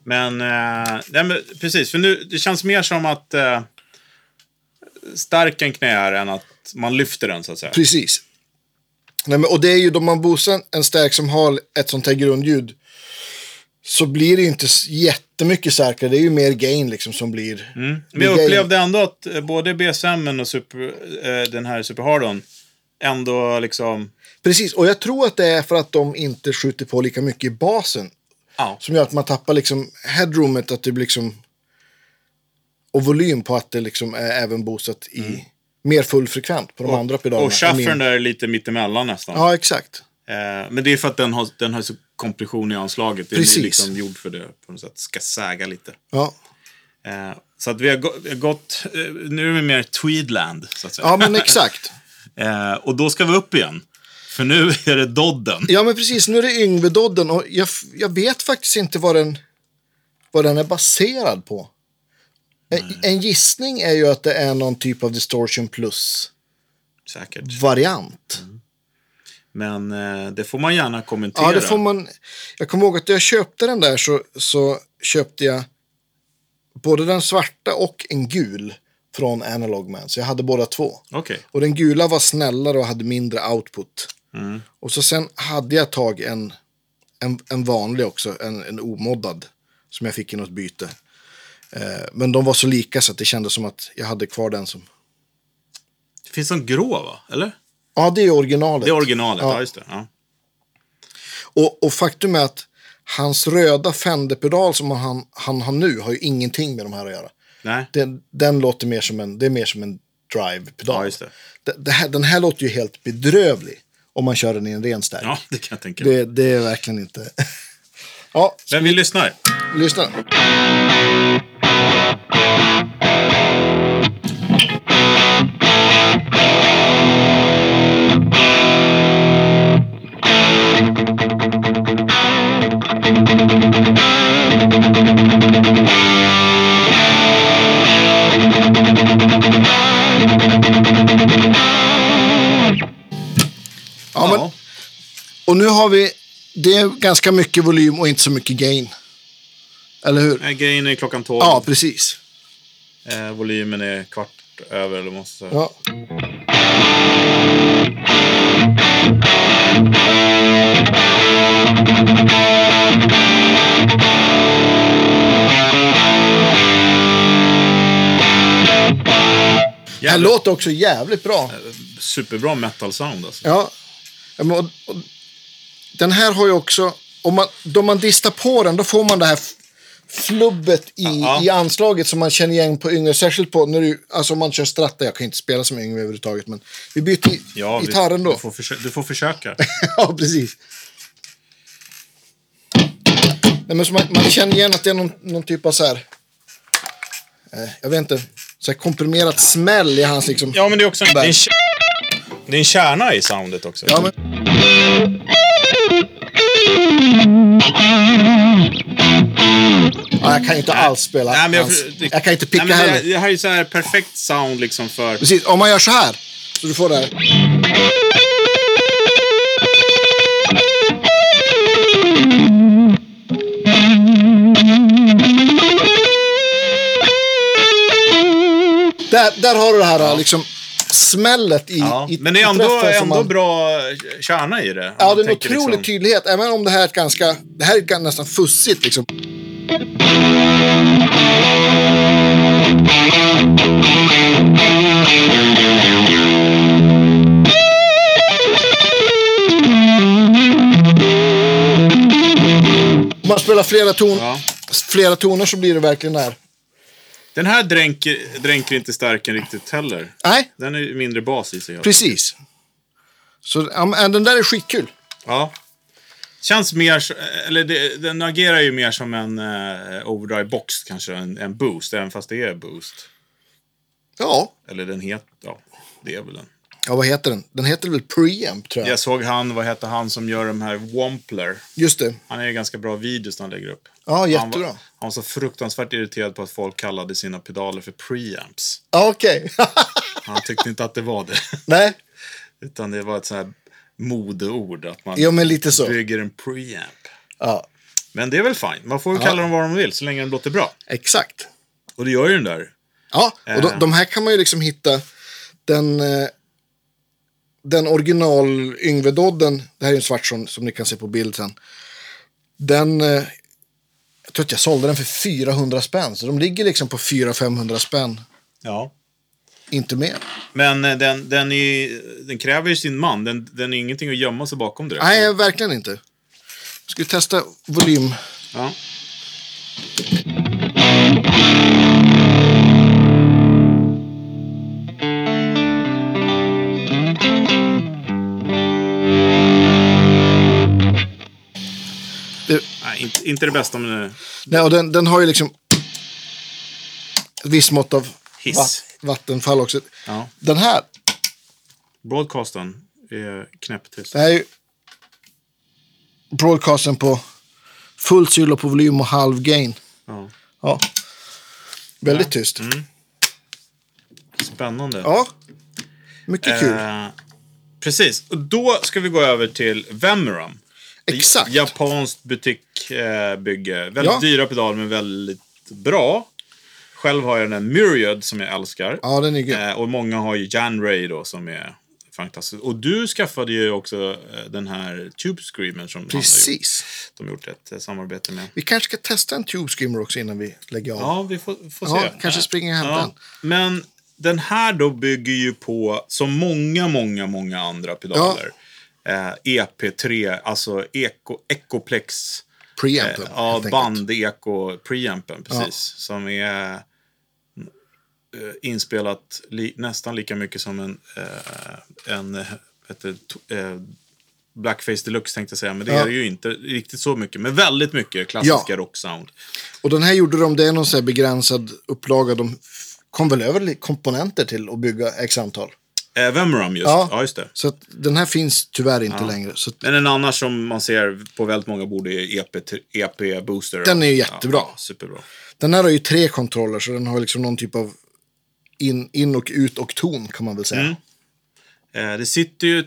S1: Men, eh, nej, men precis, för nu, det känns mer som att eh, stärken knäar än att man lyfter den så att säga.
S2: Precis. Nej, men, och det är ju då man boostar en stärk som har ett sånt här grundljud. Så blir det ju inte s- jättemycket starkare. Det är ju mer gain liksom som blir.
S1: Men jag
S2: blir gain.
S1: Mm. upplevde ändå att eh, både BSM och super, eh, den här Super Hardon ändå liksom...
S2: Precis, och jag tror att det är för att de inte skjuter på lika mycket i basen.
S1: Ja.
S2: Som gör att man tappar liksom headroomet, att det blir liksom... och volym på att det liksom är även boostat i mer full frekvent på de andra pedalerna.
S1: Mm. Och
S2: än min-
S1: shaffern där är lite mittemellan nästan.
S2: Ja, exakt.
S1: Eh, men det är för att den har, den har så kompression i anslaget. Den är
S2: Precis.
S1: liksom gjord för det på något sätt. Ska säga lite.
S2: Ja.
S1: Eh, så att vi har, gå, vi har gått... Eh, nu är vi mer Tweedland, så att säga.
S2: ja, men exakt.
S1: (laughs) Eh, och då ska vi upp igen. För nu (laughs) är det Dodden.
S2: Ja, men precis. Nu är det Yngve-dodden och jag, jag vet faktiskt inte vad den, vad den är baserad på. En, en gissning är ju att det är någon typ av distortion plus-variant.
S1: Säkert. Men eh, det får man gärna kommentera.
S2: Ja, Mm, det får man. Jag kommer ihåg att när jag köpte den där så, så köpte jag både den svarta och en gul från Analog Man. Så jag hade båda två.
S1: Okej.
S2: Och den gula var snällare och hade mindre output.
S1: Mm.
S2: Och så sen hade jag tag en, en, en vanlig också, en, en omoddad. Som jag fick i något byte. Eh, men de var så lika så att det kändes som att jag hade kvar den som...
S1: Det finns en grå, va? Eller?
S2: Ja, det är originalet.
S1: Det är originalet. Ja,
S2: Ja.
S1: just det. Ja.
S2: Och, och faktum är att hans röda Fender-pedal som han, han har nu har ju ingenting med de här att göra.
S1: Nej.
S2: Den, den låter mer som en, det är mer som en
S1: Ja,
S2: drive-pedal.
S1: just det.
S2: Det, det här, den här låter ju helt bedrövlig om man kör den i en ren stärk.
S1: Ja, (laughs) det kan jag tänka mig.
S2: Det, det är verkligen inte... (laughs) ja,
S1: Men vi lyssnar.
S2: lyssna. Ja, men, och nu har vi... Det är ganska mycket volym och inte så mycket gain. Eller hur?
S1: Ja. Grejen är klockan tolv.
S2: Ja, precis.
S1: Eh, volymen är kvart över, eller måste säga.
S2: Ja. Det här
S1: Jävligt-
S2: låter också jävligt bra.
S1: Superbra metal-sound, alltså.
S2: Ja. Ja, men och- och Den här har ju också, om man, då man distar på den, då får man det här f- flubbet i,
S1: Ja.
S2: i anslaget som man känner igen på Yngve. Särskilt på när du, alltså om man kör stratta, jag kan ju inte spela som Yngve överhuvudtaget, men vi byter i,
S1: Ja, vi-
S2: gitarren då.
S1: Du får, försö- du får försöka.
S2: (laughs) ja, precis. Nej, men så man, man känner igen att det är någon, någon typ av så här, eh, jag vet inte, så här komprimerat smäll i hans liksom.
S1: Ja, men det är också en, det är en, kär- det är en kärna i soundet också.
S2: Ja, men- Ja, jag kan ju inte alls spela
S1: Nej, men jag,
S2: hans.
S1: det-
S2: jag kan inte picka
S1: nej, men
S2: heller.
S1: Det, det här är ju så här perfekt sound liksom för...
S2: Precis, om man gör så här. Så du får det här. Där, där har du det här liksom smället i,
S1: Ja,
S2: i
S1: men det är
S2: i
S1: ändå,
S2: träffen som
S1: ändå
S2: man-
S1: bra kärna i det. om
S2: Ja,
S1: man
S2: det är en
S1: tänker
S2: otrolig
S1: liksom-
S2: tydlighet. Även om det här är ett ganska... Det här är ett gan- nästan fussigt liksom. Om man spelar flera, ton,
S1: Ja.
S2: flera toner så blir det verkligen där.
S1: Den här dränker, dränker inte stärken riktigt heller.
S2: Nej,
S1: Den är ju mindre bas i sig. helt.
S2: precis. Så ja, men äh, den där är skitkul.
S1: Ja. Känns mer, så- eller det, den agerar ju mer som en eh, overdrive box kanske, en, en boost, även fast det är boost.
S2: Ja.
S1: Eller den heter, ja, det är väl den.
S2: Ja, vad heter den? Den heter väl Preamp tror jag.
S1: Jag såg han, vad heter han som gör de här Wampler?
S2: Just det.
S1: Han är ju ganska bra videos när han lägger upp.
S2: Ja,
S1: Han var,
S2: jättebra.
S1: han var så fruktansvärt irriterad på att folk kallade sina pedaler för preamps.
S2: Ja, okej. (laughs)
S1: Han tyckte inte att det var det. (laughs)
S2: Nej,
S1: Utan det var ett så här modeord. Att man
S2: jo men lite så.
S1: bygger en preamp.
S2: Ja,
S1: Men det är väl fine. Man får ju kalla dem vad de vill så länge de låter bra.
S2: exakt.
S1: Och det gör ju den där.
S2: Ja, och de, de här kan man ju liksom hitta. Den, eh, den original Yngve-dodden, det här är ju en svart som, som ni kan se på bild sen. Den, eh, jag tror att jag sålde den för 400 spänn. Så de ligger liksom på 400-500 spänn,
S1: Ja.
S2: inte mer.
S1: Men eh, den, den, är, den kräver ju sin man. Den, den är ingenting att gömma sig bakom direkt.
S2: Nej, verkligen inte. Ska vi testa volym?
S1: Ja. Nej, inte, inte det bästa men eh,
S2: Nej, och den, den har ju liksom ett visst mått av
S1: Hiss.
S2: va- vattenfall också.
S1: ja.
S2: Den här,
S1: broadcasten är knäpptyst.
S2: det här är ju broadcasten på full silo på volym och halv gain.
S1: Ja.
S2: Ja. Väldigt tyst.
S1: Mm. Spännande.
S2: Ja, mycket kul.
S1: Eh, precis. Och då ska vi gå över till Vemeram.
S2: Exakt.
S1: Japanskt butikbygge. väldigt
S2: Ja.
S1: dyra pedaler, men väldigt bra. Själv har jag den Myriad som jag älskar.
S2: Ja, den är grym.
S1: Eh, och många har ju Jan Ray då som är fantastisk. Och du skaffade ju också eh, den här Tube Screamer som han har gjort.
S2: Precis.
S1: de har gjort ett eh, samarbete med.
S2: Vi kanske ska testa en Tube Screamer också innan vi lägger av.
S1: Ja, vi får, får se.
S2: Ja, kanske springer jag och hämtar
S1: Men den här då bygger ju på, som många, många, många andra pedaler, eh, EP3, alltså Eco, Ecoplex,
S2: Preampen.
S1: eh, ja,
S2: helt enkelt.
S1: band-eco preampen, precis, som är eh, inspelat li, nästan lika mycket som en, eh, en eh, vet du, to- eh, Blackface Deluxe tänkte jag säga, men det
S2: Ja.
S1: är det ju inte riktigt så mycket. Men väldigt mycket klassiska rocksound.
S2: Och den här gjorde de, det är någon så här begränsad upplaga. De f- kom väl över li- komponenter till att bygga x antal.
S1: Eh, Vemram just,
S2: Ja.
S1: ja just det.
S2: Så att den här finns tyvärr inte längre. Så att
S1: Men en annan som man ser på väldigt många bord är E EP, EP Booster.
S2: Den är ju jättebra.
S1: Ja, superbra.
S2: den här har ju tre kontroller så den har liksom någon typ av in, in och ut och ton kan man väl säga.
S1: Eh, det sitter ju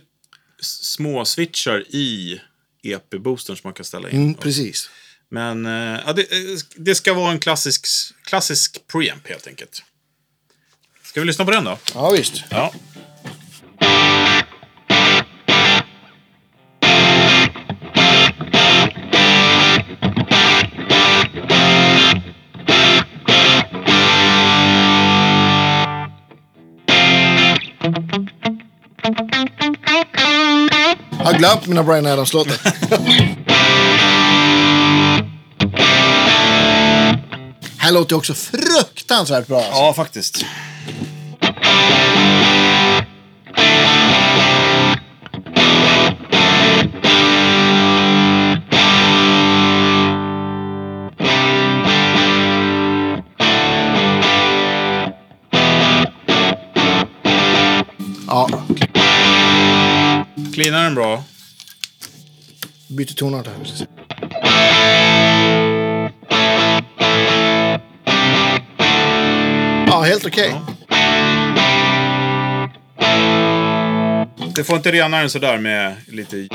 S1: s- små switchar i EP-boostern som man kan ställa in.
S2: Mm, precis.
S1: Men eh, ja, det, eh, det ska vara en klassisk, klassisk preamp helt enkelt. Ska vi lyssna på den då?
S2: Ja visst.
S1: Ja.
S2: Jag har glömt mina Brian Adams-låtar. (laughs) här låter det också fruktansvärt bra. Alltså.
S1: Ja, faktiskt.
S2: Ja.
S1: Cleanar den bra.
S2: Byter tonart här. precis. Ja, helt okej.
S1: Ja. Du får inte rena den sådär med lite...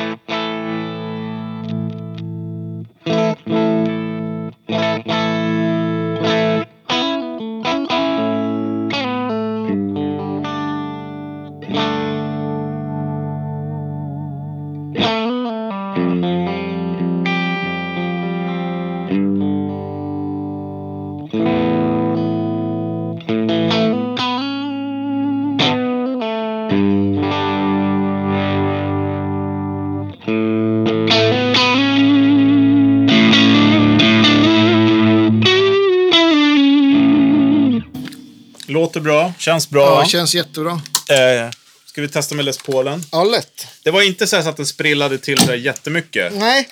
S1: Låter bra, känns
S2: Ja,
S1: bra.
S2: det känns jättebra.
S1: Eh, ska vi testa med Les Paulen?
S2: Ja, lätt.
S1: Det var inte så, här så att den sprillade till så här jättemycket.
S2: Nej,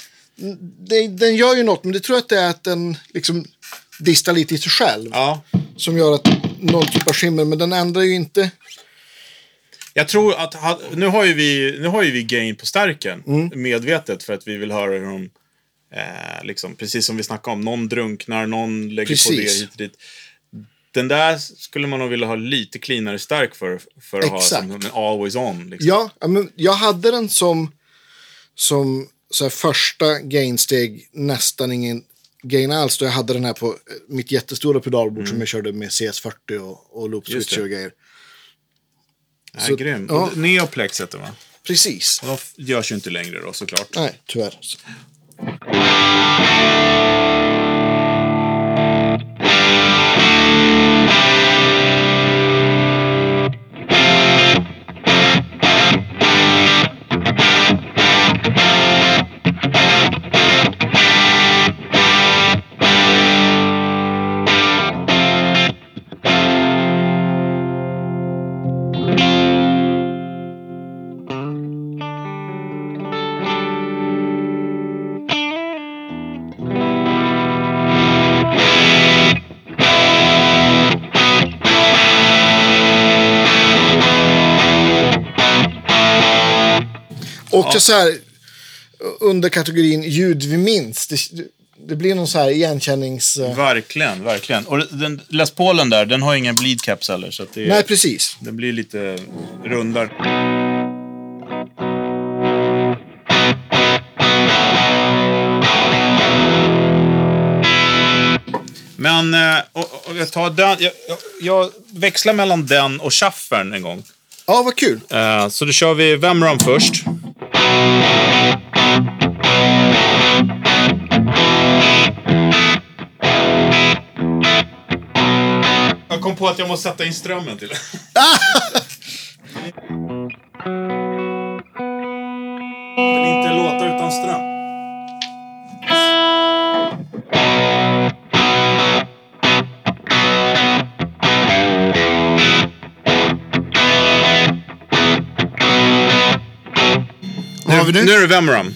S2: det, den gör ju något, men det tror jag att det är att den liksom distar lite i sig själv.
S1: Ja.
S2: Som gör att någon typ av skimmer, men den ändrar ju inte.
S1: Jag tror att... ha- Nu har ju vi, nu har ju vi gain på stärken.
S2: Mm.
S1: Medvetet för att vi vill höra hur de... Eh, liksom, precis som vi snackade om. Någon drunknar, någon lägger på det
S2: Precis.
S1: hit och dit. Den där skulle man nog vilja ha lite cleanare stark för. För att
S2: Exakt.
S1: ha som en always on. Liksom.
S2: Ja, ja, men jag hade den som, som så här första gainsteg, nästan ingen gain alls. Då jag hade den här på eh, mitt jättestora pedalbord som jag körde med CS40 och, och loop
S1: Mm. Just
S2: switch och grejer.
S1: Nej,
S2: så-
S1: grym.
S2: ja.
S1: Och Neoplex heter det va?
S2: Precis.
S1: Och de f- görs ju inte längre då såklart.
S2: Nej, tyvärr. Och så här, under kategorin ljud vi minns. Det, det blir någon så här igenkännings... eh,
S1: Verkligen, verkligen. Och den, Les Paulen där, den har ingen bleed caps heller. Så att det,
S2: Nej, precis.
S1: den blir lite rundare. Men eh, och, och jag, tar den, jag, jag, jag växlar mellan den och chaffern en gång.
S2: Ja, vad kul.
S1: Eh, så då kör vi Vemram först. Jag kom på att jag måste sätta in strömmen till. Vill inte låta utan ström.
S2: Vad har vi
S1: Nu
S2: nu?
S1: är det Vemram.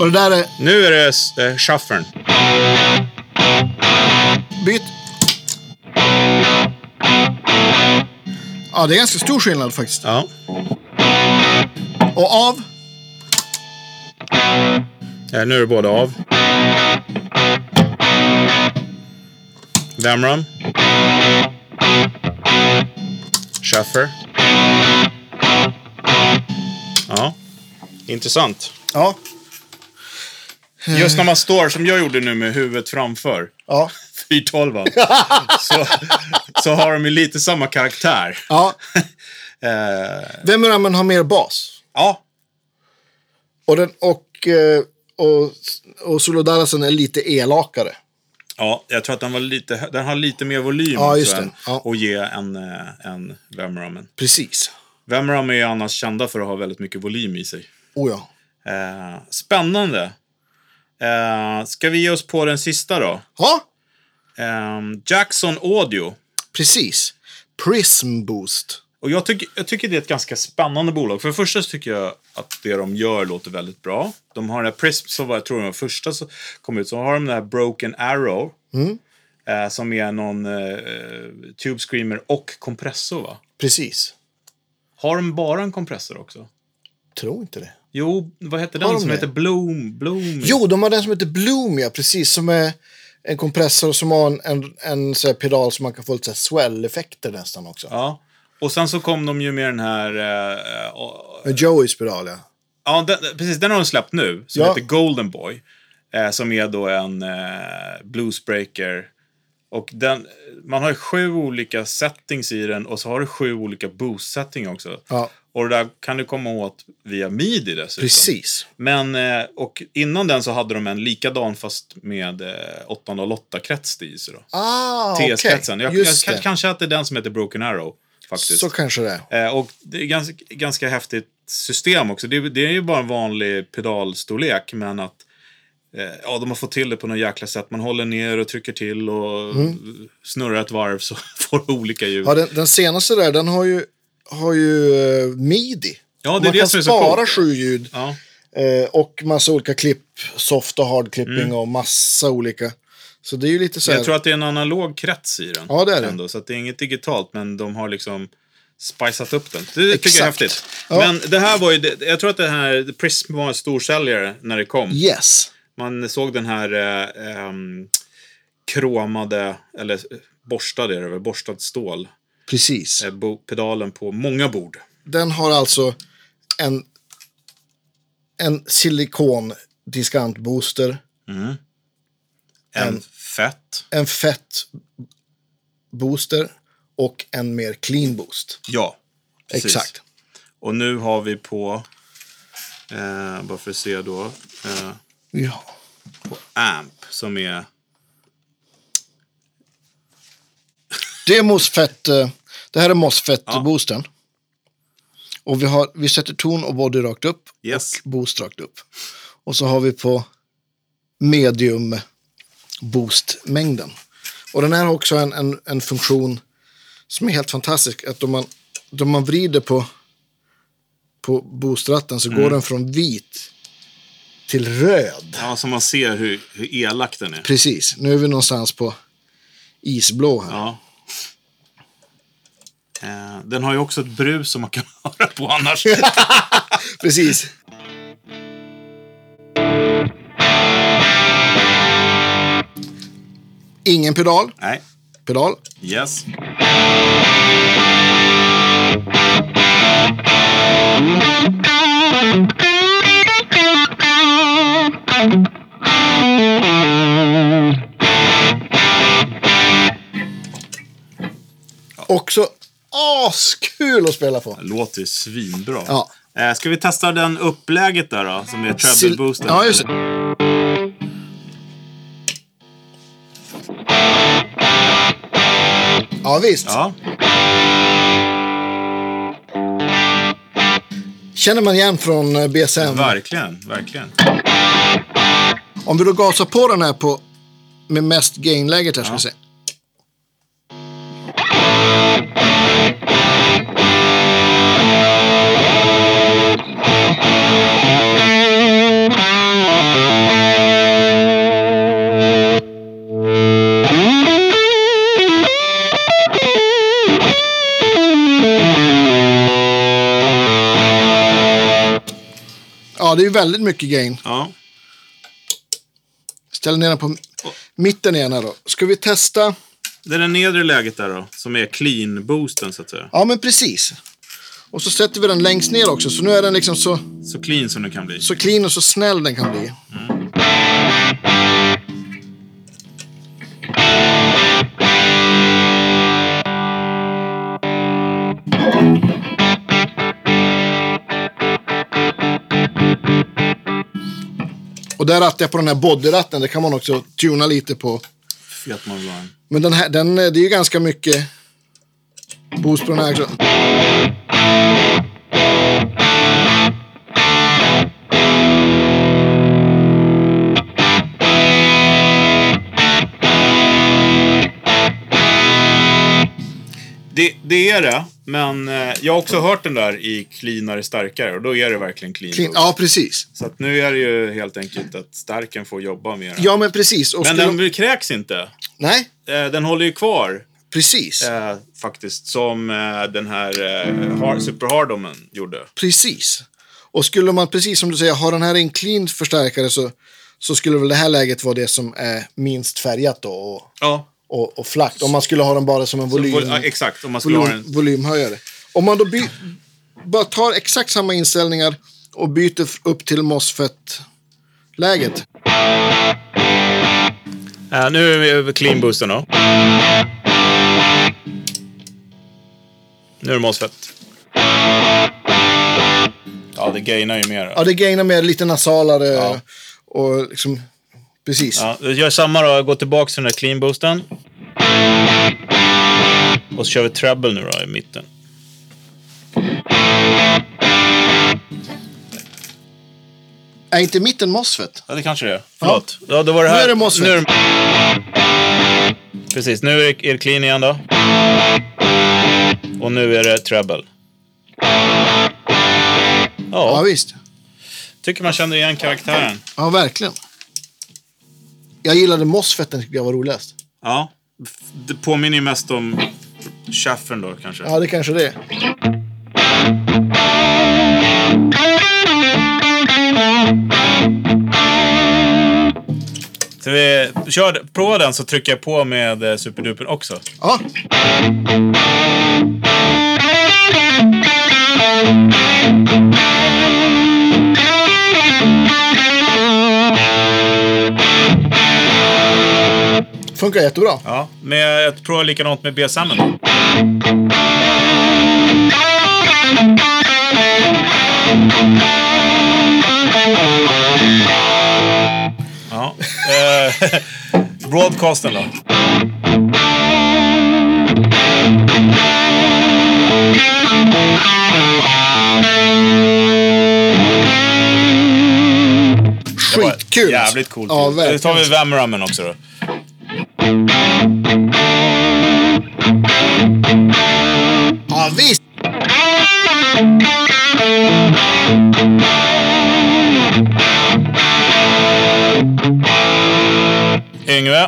S2: Och det där är...
S1: Nu är det eh, Schaffern.
S2: Byt. Ja, det är ganska stor skillnad faktiskt.
S1: Ja.
S2: Och av?
S1: Eh, nu är det båda av. Vemram. Schaffer. Ja, intressant.
S2: Ja.
S1: Just när man står, som jag gjorde nu med huvudet framför, (laughs)
S2: Ja.
S1: 412 så, så har de ju lite samma karaktär.
S2: ja.
S1: (laughs) Eh,
S2: Vem är det man har mer bas?
S1: ja,
S2: Och, den, och, eh, och, och Solo Dallasen är lite elakare.
S1: Ja, jag tror att den, var lite, den har lite mer volym
S2: Ja,
S1: också
S2: just det.
S1: än-
S2: Ja.
S1: att ge än, eh, än Vemramen.
S2: Precis.
S1: Vemram är ju annars kända för att ha väldigt mycket volym i sig.
S2: Oh ja.
S1: Eh, spännande! Eh, ska vi ge oss på den sista då?
S2: Ja,
S1: Eh, Jackson Audio.
S2: precis. Prism Boost.
S1: Och jag, tycker- jag tycker det är ett ganska spännande bolag. För det första så tycker jag att det de gör låter väldigt bra. De har den här Prism som var, jag tror den var första som kom ut. Så har de den här Broken Arrow.
S2: Mm.
S1: Eh, som är någon eh, Tube Screamer och kompressor va?
S2: Precis.
S1: Har de bara en kompressor också?
S2: Tror inte det.
S1: Jo, vad hette den
S2: Har de
S1: som
S2: det?
S1: heter Bloom? Bloom?
S2: Jo, de har den som heter Bloom, ja. Precis. Som är en kompressor som har en, en, en så här pedal som man kan få lite så här swell-effekter nästan också.
S1: Ja. Och sen så kom de ju med den här... eh, eh,
S2: Med Joeys pedal, ja.
S1: Ja, den, precis. Den har de släppt nu, som
S2: Ja.
S1: heter Golden Boy. Eh, som är då en eh, bluesbreaker. Och den, man har ju sju olika settings i den och så har du sju olika boost-setting också.
S2: Ja.
S1: Och det där kan du komma åt via midi dessutom.
S2: Precis.
S1: Men, eh, och innan den så hade de en likadan fast med eh, 808-krets i sig då.
S2: Ah, okej.
S1: TS-kretsen. Jag, jag,
S2: Just
S1: kan-
S2: det.
S1: kanske att det är den som heter Broken Arrow. Faktiskt.
S2: Så kanske det är.
S1: Eh, och det är ganska, ganska häftigt system också. Det, är- det är ju bara en vanlig pedalstorlek, men att eh, ja, de har fått till det på något jäkla sätt. Man håller ner och trycker till och snurrar ett varv så (laughs) får du olika ljud.
S2: Mm. Ja, den, den senaste där, den har ju, har ju eh, midi.
S1: Ja, det är
S2: man
S1: det
S2: kan
S1: som är så
S2: spara
S1: coolt.
S2: sju ljud
S1: Ja.
S2: eh, och massa olika klipp. Soft och hard clipping och massa olika. Så det är ju lite så här.
S1: Mm. Jag tror att det är en analog krets i den.
S2: Ja, det är det.
S1: Ändå, så att det är inget digitalt, men de har liksom spicat upp den. Det tycker jag är
S2: Exakt.
S1: häftigt.
S2: Ja.
S1: Men det här var ju, det- jag tror att det här, Prism var en storsäljare när det kom.
S2: Yes.
S1: Man såg den här eh, ehm, kromade, eller eh, borstade är det väl, borstad stål,
S2: Precis.
S1: eh, bo- pedalen på många bord.
S2: Den har alltså en, en silikondiskantbooster,
S1: En fett.
S2: en fett booster och en mer clean boost.
S1: Ja, precis.
S2: Exakt.
S1: Och nu har vi på, eh, bara för att se då, eh,
S2: Ja.
S1: på AMP som är
S2: Det är mosfett. eh, Det här är mosfett-boosten. Och vi, har, vi sätter ton och body rakt upp
S1: Yes.
S2: och boost rakt upp. Och så har vi på medium boost-mängden. Och den här har också en, en, en funktion som är helt fantastisk. Att om man, om man vrider på, på boostratten så går den från vit till röd.
S1: Ja, så man ser hur, hur elak den är.
S2: Precis, nu är vi någonstans på isblå här.
S1: Ja. Eh, Den har ju också ett brus som man kan (laughs) höra på
S2: (laughs)
S1: annars.
S2: Precis. Ingen pedal.
S1: Nej.
S2: Pedal.
S1: Yes.
S2: Också askul att spela på.
S1: Låter ju svinbra.
S2: Ja.
S1: Eh, Ska vi testa den upplägget där då? Som är treble
S2: Sil-
S1: boosten.
S2: Ja, just det. Ja, visst.
S1: Ja.
S2: Känner man igen från eh, BSM.
S1: Verkligen, verkligen.
S2: Om vi då gasar på den här på med mest gainläget här ska vi se. Ja, det är ju väldigt mycket gain.
S1: Ja.
S2: Ställ ner den på mitten igen här då. Ska vi testa?
S1: Det är det nedre läget där då, som är clean-boosten så att säga.
S2: Ja, men precis. Och så sätter vi den längst ner också, så nu är den liksom så,
S1: Så clean som den kan bli.
S2: så clean och så snäll den kan bli. Och där rattar jag på den här bodyratten, det kan man också tuna lite på.
S1: Fet man vill ha en.
S2: Men den här, den, eh, det är ju ganska mycket boost på den här också.
S1: Det, det är det, men eh, jag har också hört den där i cleanare starkare och då är det verkligen clean.
S2: Clean.
S1: boost.
S2: Ja, precis.
S1: Så att nu är det ju helt enkelt att starken får jobba mer.
S2: Ja, men precis. Och
S1: men
S2: skulle-
S1: den kräks inte.
S2: Nej,
S1: Eh, Den håller ju kvar
S2: precis.
S1: eh, faktiskt som eh, den här eh, har, Super Hardomen gjorde.
S2: Precis. Och skulle man, precis som du säger, ha den här i en clean förstärkare så, så skulle väl det här läget vara det som är minst färgat då och,
S1: Ja.
S2: och, och flackt. Om man skulle ha den bara som en volym,
S1: Vol- ja, exakt, om man skulle ha
S2: volym,
S1: den.
S2: volymhöjare. Om man då by, bara tar exakt samma inställningar och byter f- upp till MOSFET-läget.
S1: Eh, nu är vi över clean boosten då. Nu är det MOSFET. Ja, det gainar ju mer. då.
S2: Ja, det gainar mer, lite nasalare och liksom... Precis.
S1: Ja, vi gör samma då. Gå tillbaka till den där clean boosten. Och så kör vi treble nu då i mitten.
S2: Är inte mitten MOSFET?
S1: Ja, det kanske det är. Förlåt. Ja, då var det här.
S2: Nu är det MOSFET.
S1: Nu är det- Precis, nu är det är det clean igen då. Och nu är det treble.
S2: Ja,
S1: Ja,
S2: visst.
S1: tycker man känner igen karaktären.
S2: Ja, verkligen. Jag gillade MOSFETen, tyckte jag var roligast.
S1: Ja, det påminner ju mest om Shaffen då kanske.
S2: Ja, det kanske det är.
S1: Så vi kör, prova den så trycker jag på med eh, superdupen också.
S2: Ja. Funkar jättebra.
S1: Ja, men jag provar likadant med BSM då. Ja. (laughs) eh, (laughs) Broadcasten då?
S2: Skitkul.
S1: Jävligt coolt.
S2: Ja,
S1: Då tar vi
S2: verkligen.
S1: Vamrammen också då.
S2: Ja, visst.
S1: Yngve.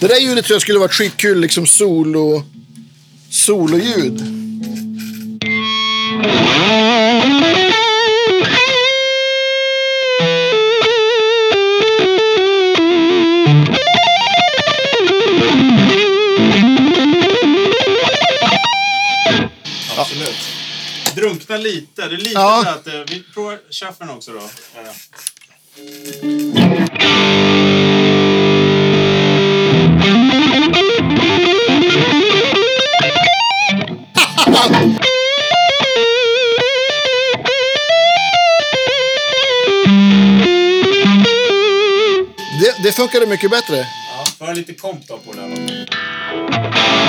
S2: Det där ljudet tror jag skulle vara skitkul, liksom solo... Sololjud.
S1: Absolut. Drunkna lite. Det är lite
S2: Ja.
S1: lätt. eh, Vi provar shufflen också då. Eh,
S2: Det, det funkade mycket bättre.
S1: Ja. Får jag lite komp då på den? här då?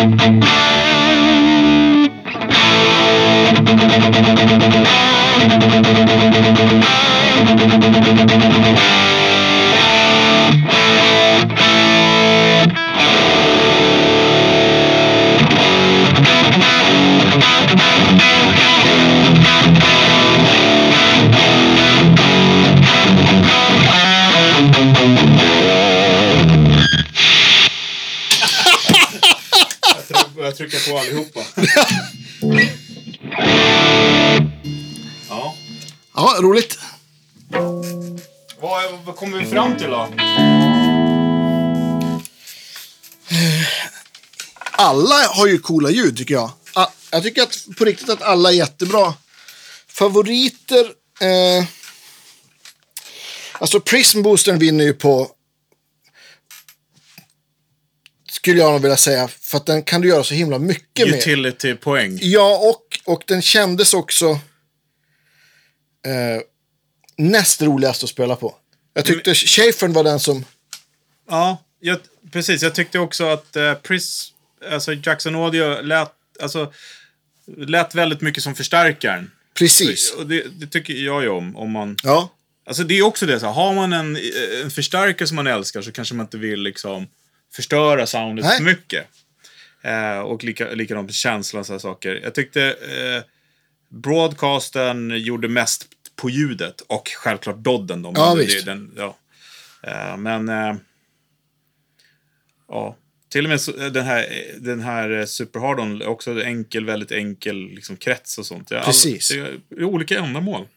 S1: Jag börjar trycka på allihopa. ja.
S2: Ja, roligt.
S1: Vad, vad kommer vi fram till då?
S2: Alla har ju coola ljud tycker jag. A- Jag tycker att, på riktigt att alla är jättebra. Favoriter... Eh, alltså Prism Boostern vinner ju på... Skulle jag nog vilja säga. För att den kan du göra så himla mycket med.
S1: Utility-poäng.
S2: Ja, och, och den kändes också eh, näst roligast att spela på. Jag tyckte Schäfern var den som...
S1: Ja, jag, precis. Jag tyckte också att eh, Pris, alltså Jackson Audio lät, alltså, lät väldigt mycket som förstärkaren.
S2: Precis.
S1: Och det, det tycker jag ju om. om man,
S2: Ja.
S1: alltså det är också det, så här, har man en, eh, en förstärkare som man älskar så kanske man inte vill liksom, förstöra soundet
S2: Nej.
S1: för mycket. Eh, och lika, likadant med känslan och sådana saker. Jag tyckte eh, broadcasten gjorde mest på ljudet och självklart dodden. De
S2: Ja,
S1: hade.
S2: visst.
S1: Det, är den, ja. Eh, men... Eh, ja. Till och med så, eh, den här, den här eh, Super Hardon, också enkel, väldigt enkel liksom, krets och sånt. Ja, all-
S2: Precis.
S1: Det är- det är olika ändamål.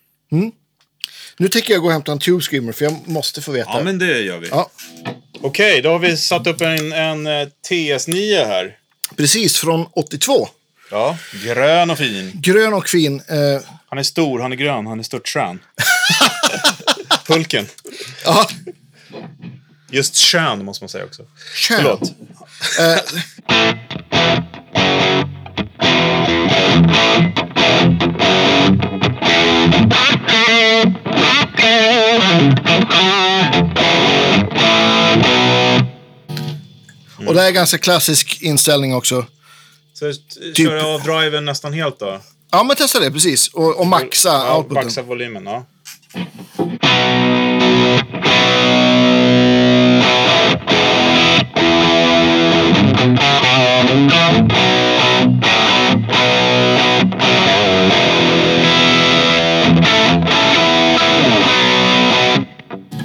S2: Nu tänker jag gå och hämta en Tube Screamer för jag måste få veta.
S1: Ja, men det gör vi.
S2: Ja,
S1: Okej, då har vi satt upp en, en eh, TS9 här.
S2: precis, från 82.
S1: Ja, grön och fin.
S2: Grön och fin. Eh,
S1: Han är stor, han är grön, han är störtskön. Hulken.
S2: ja,
S1: Just skön måste man säga också.
S2: skön.
S1: Förlåt.
S2: Eh,
S1: Mm.
S2: Och det här är ganska klassisk inställning också.
S1: Så kör jag av driven nästan helt då?
S2: Ja, men testa det precis. Och, och maxa
S1: Ja,
S2: outputen.
S1: maxa volymen, ja.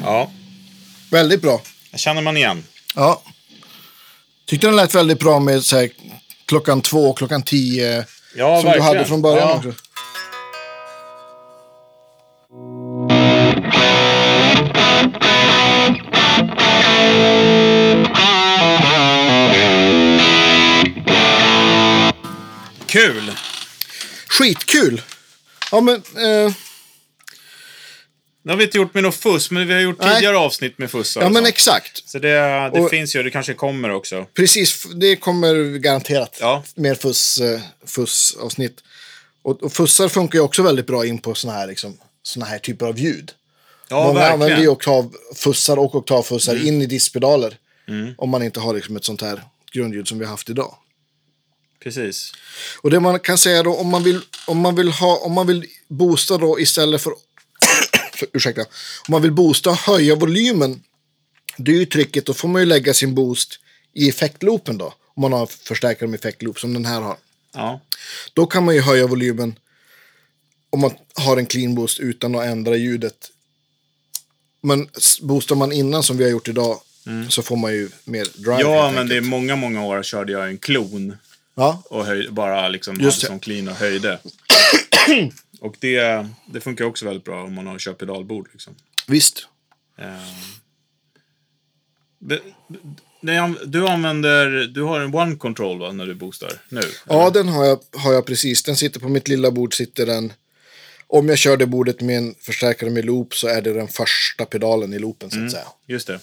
S1: Ja,
S2: Väldigt bra.
S1: jag känner man igen.
S2: Ja. Tyckte den lät väldigt bra med så här, klockan två, klockan tio.
S1: Ja,
S2: som
S1: verkligen.
S2: du hade från början
S1: ja.
S2: också.
S1: Kul!
S2: Skitkul! Ja, men... Eh,
S1: Det har vi inte gjort med något fuss, men vi har gjort
S2: Nej.
S1: tidigare avsnitt med fuss.
S2: ja,
S1: alltså.
S2: men exakt.
S1: Så det, det
S2: Och-
S1: finns ju, det kanske kommer också.
S2: Precis, f- det kommer garanterat.
S1: Ja.
S2: Mer fuss, eh, fussavsnitt. Och, och fussar funkar ju också väldigt bra in på såna här, liksom, såna här typer av ljud.
S1: Ja,
S2: Många
S1: verkligen. Mm.
S2: använder ju oktavfussar och oktavfussar in i diskpedaler. Om man inte har liksom, ett sånt här grundljud som vi har haft idag.
S1: Precis.
S2: Och det man kan säga då om man vill, om man vill, ha, om man vill boosta då istället för, (coughs) för ursäkta, om man vill boosta och höja volymen, det är ju tricket, då får man ju lägga sin boost i effektloopen då. Om man har en förstärkare med effektloop som den här har.
S1: Ja.
S2: Då kan man ju höja volymen om man har en clean boost utan att ändra ljudet. Men s- boostar man innan som vi har gjort idag
S1: Mm.
S2: så får man ju mer
S1: Jag
S2: drive. helt
S1: använde i
S2: enkelt.
S1: många, många år körde jag en klon
S2: Ja,
S1: och höj, bara liksom
S2: Just
S1: hade som clean och
S2: (clears throat)
S1: höjde. och det, det funkar också väldigt bra om man har köpt pedalbord. Liksom.
S2: visst.
S1: Eh, det- det- nej, an- du använder, du har en one control va, när du boostar nu?
S2: Ja, den har jag, har jag precis. Den sitter på mitt lilla bord. sitter den. Om jag kör det bordet med en förstärkare med loop så är det den första pedalen i loopen
S1: Mm.
S2: så att säga.
S1: Just det.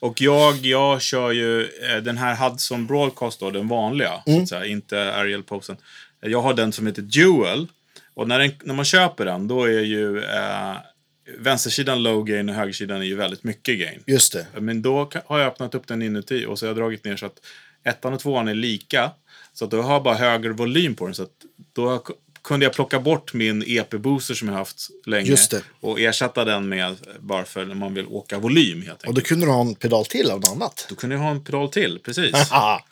S1: Och jag, jag kör ju eh, den här Hudson Broadcast, då, den vanliga, så att säga, inte Ariel Posen. Jag har den som heter Dual. Och när, den, när man köper den, då är ju eh, vänstersidan low gain och högersidan är ju väldigt mycket gain.
S2: Just det.
S1: Men då ka- har jag öppnat upp den inuti och så har jag dragit ner så att ettan och tvåan är lika. Så att då har jag bara högre volym på den. Så att då har jag ku- kunde jag plocka bort min EP-booster som jag haft länge
S2: Just det.
S1: och ersätta den med eh, bara för när man vill åka volym helt enkelt.
S2: Och då kunde du ha en pedal till av något annat.
S1: Då kunde jag ha en pedal till, precis.
S2: Ja,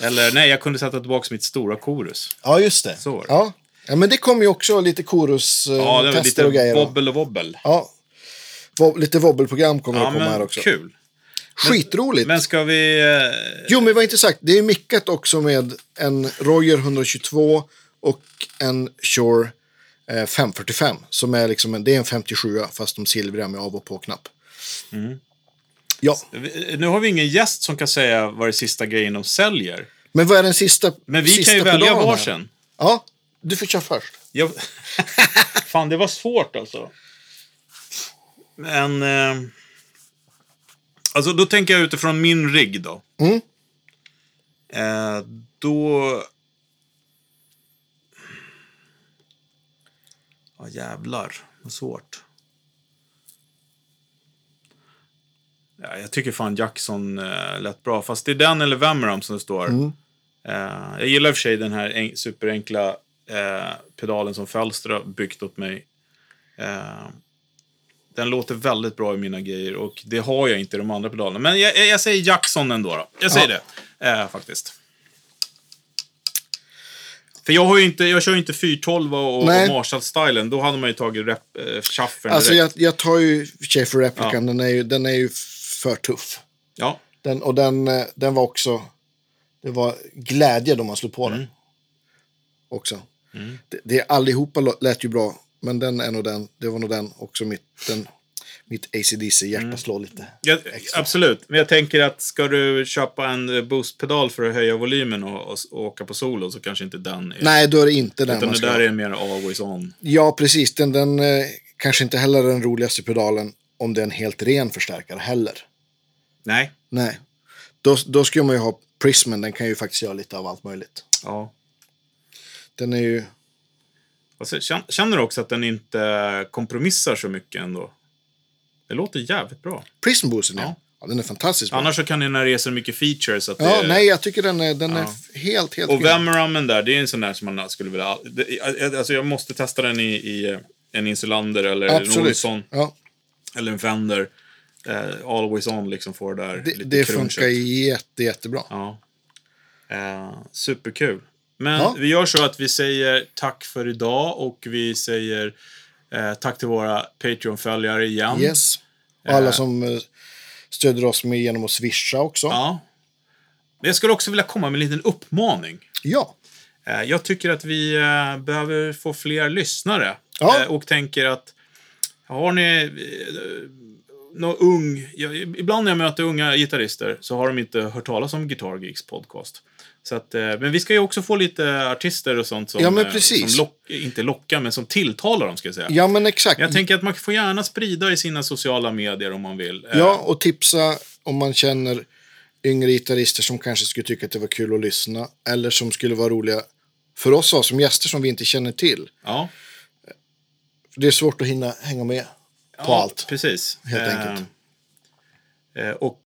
S1: Eller nej, jag kunde sätta tillbaka mitt stora korus.
S2: ja just det.
S1: Så var det.
S2: Ja. ja, men det kom ju också lite
S1: Ja, det var
S2: korus-tester
S1: lite
S2: och grejer. va?
S1: wobbel och wobbel.
S2: Ja. Vo- Lite wobbelprogram kommer
S1: Ja,
S2: det komma här
S1: men
S2: också.
S1: kul.
S2: Skitroligt.
S1: Men ska vi... eh,
S2: Jo, men vad inte sagt. Det är mickat också med en Roger 122 och en Shure eh, 545. Som är liksom en, det är en 57 fast de silvriga med av och på-knapp.
S1: Mm.
S2: Ja,
S1: vi- Nu har vi ingen gäst som kan säga vad det är sista grejen de säljer.
S2: men vad är den sista
S1: Men vi
S2: sista
S1: kan ju välja
S2: pedalen här?
S1: varsin.
S2: Ja, du får köra först.
S1: Jag... (laughs) Fan, det var svårt alltså. Men... Eh... Alltså, då tänker jag utifrån min rigg då.
S2: Mm.
S1: Eh, då... Ja, jävlar. Vad svårt. Ja, jag tycker fan Jackson eh, lät bra. Fast det är den eller Vemram som det står.
S2: Mm.
S1: Eh, jag gillar i och för sig den här en- superenkla eh, pedalen som Fälstra byggt åt mig. Eh, den låter väldigt bra i mina grejer och det har jag inte i de andra pedalerna. Men jag, jag- jag säger Jackson ändå. Då. Jag säger
S2: Ja.
S1: det, eh, faktiskt. För jag, har ju inte, jag kör ju inte 412 och, och
S2: Nej.
S1: Marshall-stylen. Då hade man ju tagit rep, eh, chaffern
S2: Alltså,
S1: direkt.
S2: jag, jag tar ju Schaefer Replican. Den, är ju, den är ju för tuff.
S1: Ja,
S2: Den, och den, eh, den var också... Det var glädje då man slog på
S1: Mm.
S2: den. Också. Det, det allihopa lå- lät ju bra. Men den är nog den. Det var nog den också mitt, den, mitt ACDC-hjärta
S1: Mm.
S2: slår lite.
S1: jag,
S2: extra.
S1: absolut. Men jag tänker att ska du köpa en eh, boostpedal för att höja volymen och, och, s- och åka på solo så kanske inte den är...
S2: Nej, då är det inte den
S1: utan
S2: man
S1: det
S2: ska
S1: där
S2: ha.
S1: är mer always on.
S2: Ja, precis. Den, den eh, kanske inte heller är den roligaste pedalen om det är en helt ren förstärkare heller.
S1: Nej.
S2: Nej. Då, då ska man ju ha Prismen. Den kan ju faktiskt göra lite av allt möjligt.
S1: Ja.
S2: Den är ju...
S1: Alltså, kän- känner du också att den inte kompromissar så mycket ändå? Det låter jävligt bra.
S2: Prism-boosten, ja.
S1: Ja.
S2: ja. Den är fantastisk. bra.
S1: Annars så kan den här resa mycket features. Att
S2: Ja,
S1: det...
S2: nej, jag tycker den är, den är
S1: Eh, Ja.
S2: f- helt, helt
S1: Och
S2: grym.
S1: Vemrammen där, det är en sån där som man skulle vilja... all- det- Alltså jag måste testa den i, i eh, en Insulander eller en
S2: Absolut.
S1: Olsson.
S2: Ja,
S1: Eller en Fender. Eh, always on liksom får det där
S2: det
S1: lite
S2: det
S1: crunchet.
S2: funkar jätte, jättebra.
S1: Ja. Eh, superkul. Men
S2: Ja.
S1: vi gör så att vi säger tack för idag och vi säger eh, tack till våra Patreon-följare igen.
S2: Yes. Och alla som eh, stöder oss med genom att swisha också. Ja.
S1: Ja. Men Jag skulle också vilja komma med en liten uppmaning.
S2: ja.
S1: Eh, Jag tycker att vi eh, behöver få fler lyssnare.
S2: Ja.
S1: Eh, Och tänker att har ni eh, någon ung... Jag, ibland när jag möter unga gitarrister så har de inte hört talas om Guitar Geeks podcast. Så att, eh, men vi ska ju också få lite artister och sånt som,
S2: Ja, men
S1: eh,
S2: precis.
S1: som lock, inte lockar, men som tilltalar dem. Ska jag säga.
S2: men exakt.
S1: Jag tänker att man får gärna sprida i sina sociala medier om man vill. Eh,
S2: Ja, och tipsa om man känner yngre gitarrister som kanske skulle tycka att det var kul att lyssna. Eller som skulle vara roliga för oss att ha som gäster som vi inte känner till.
S1: ja.
S2: Det är svårt att hinna hänga med på allt.
S1: Precis.
S2: helt enkelt.
S1: Eh, och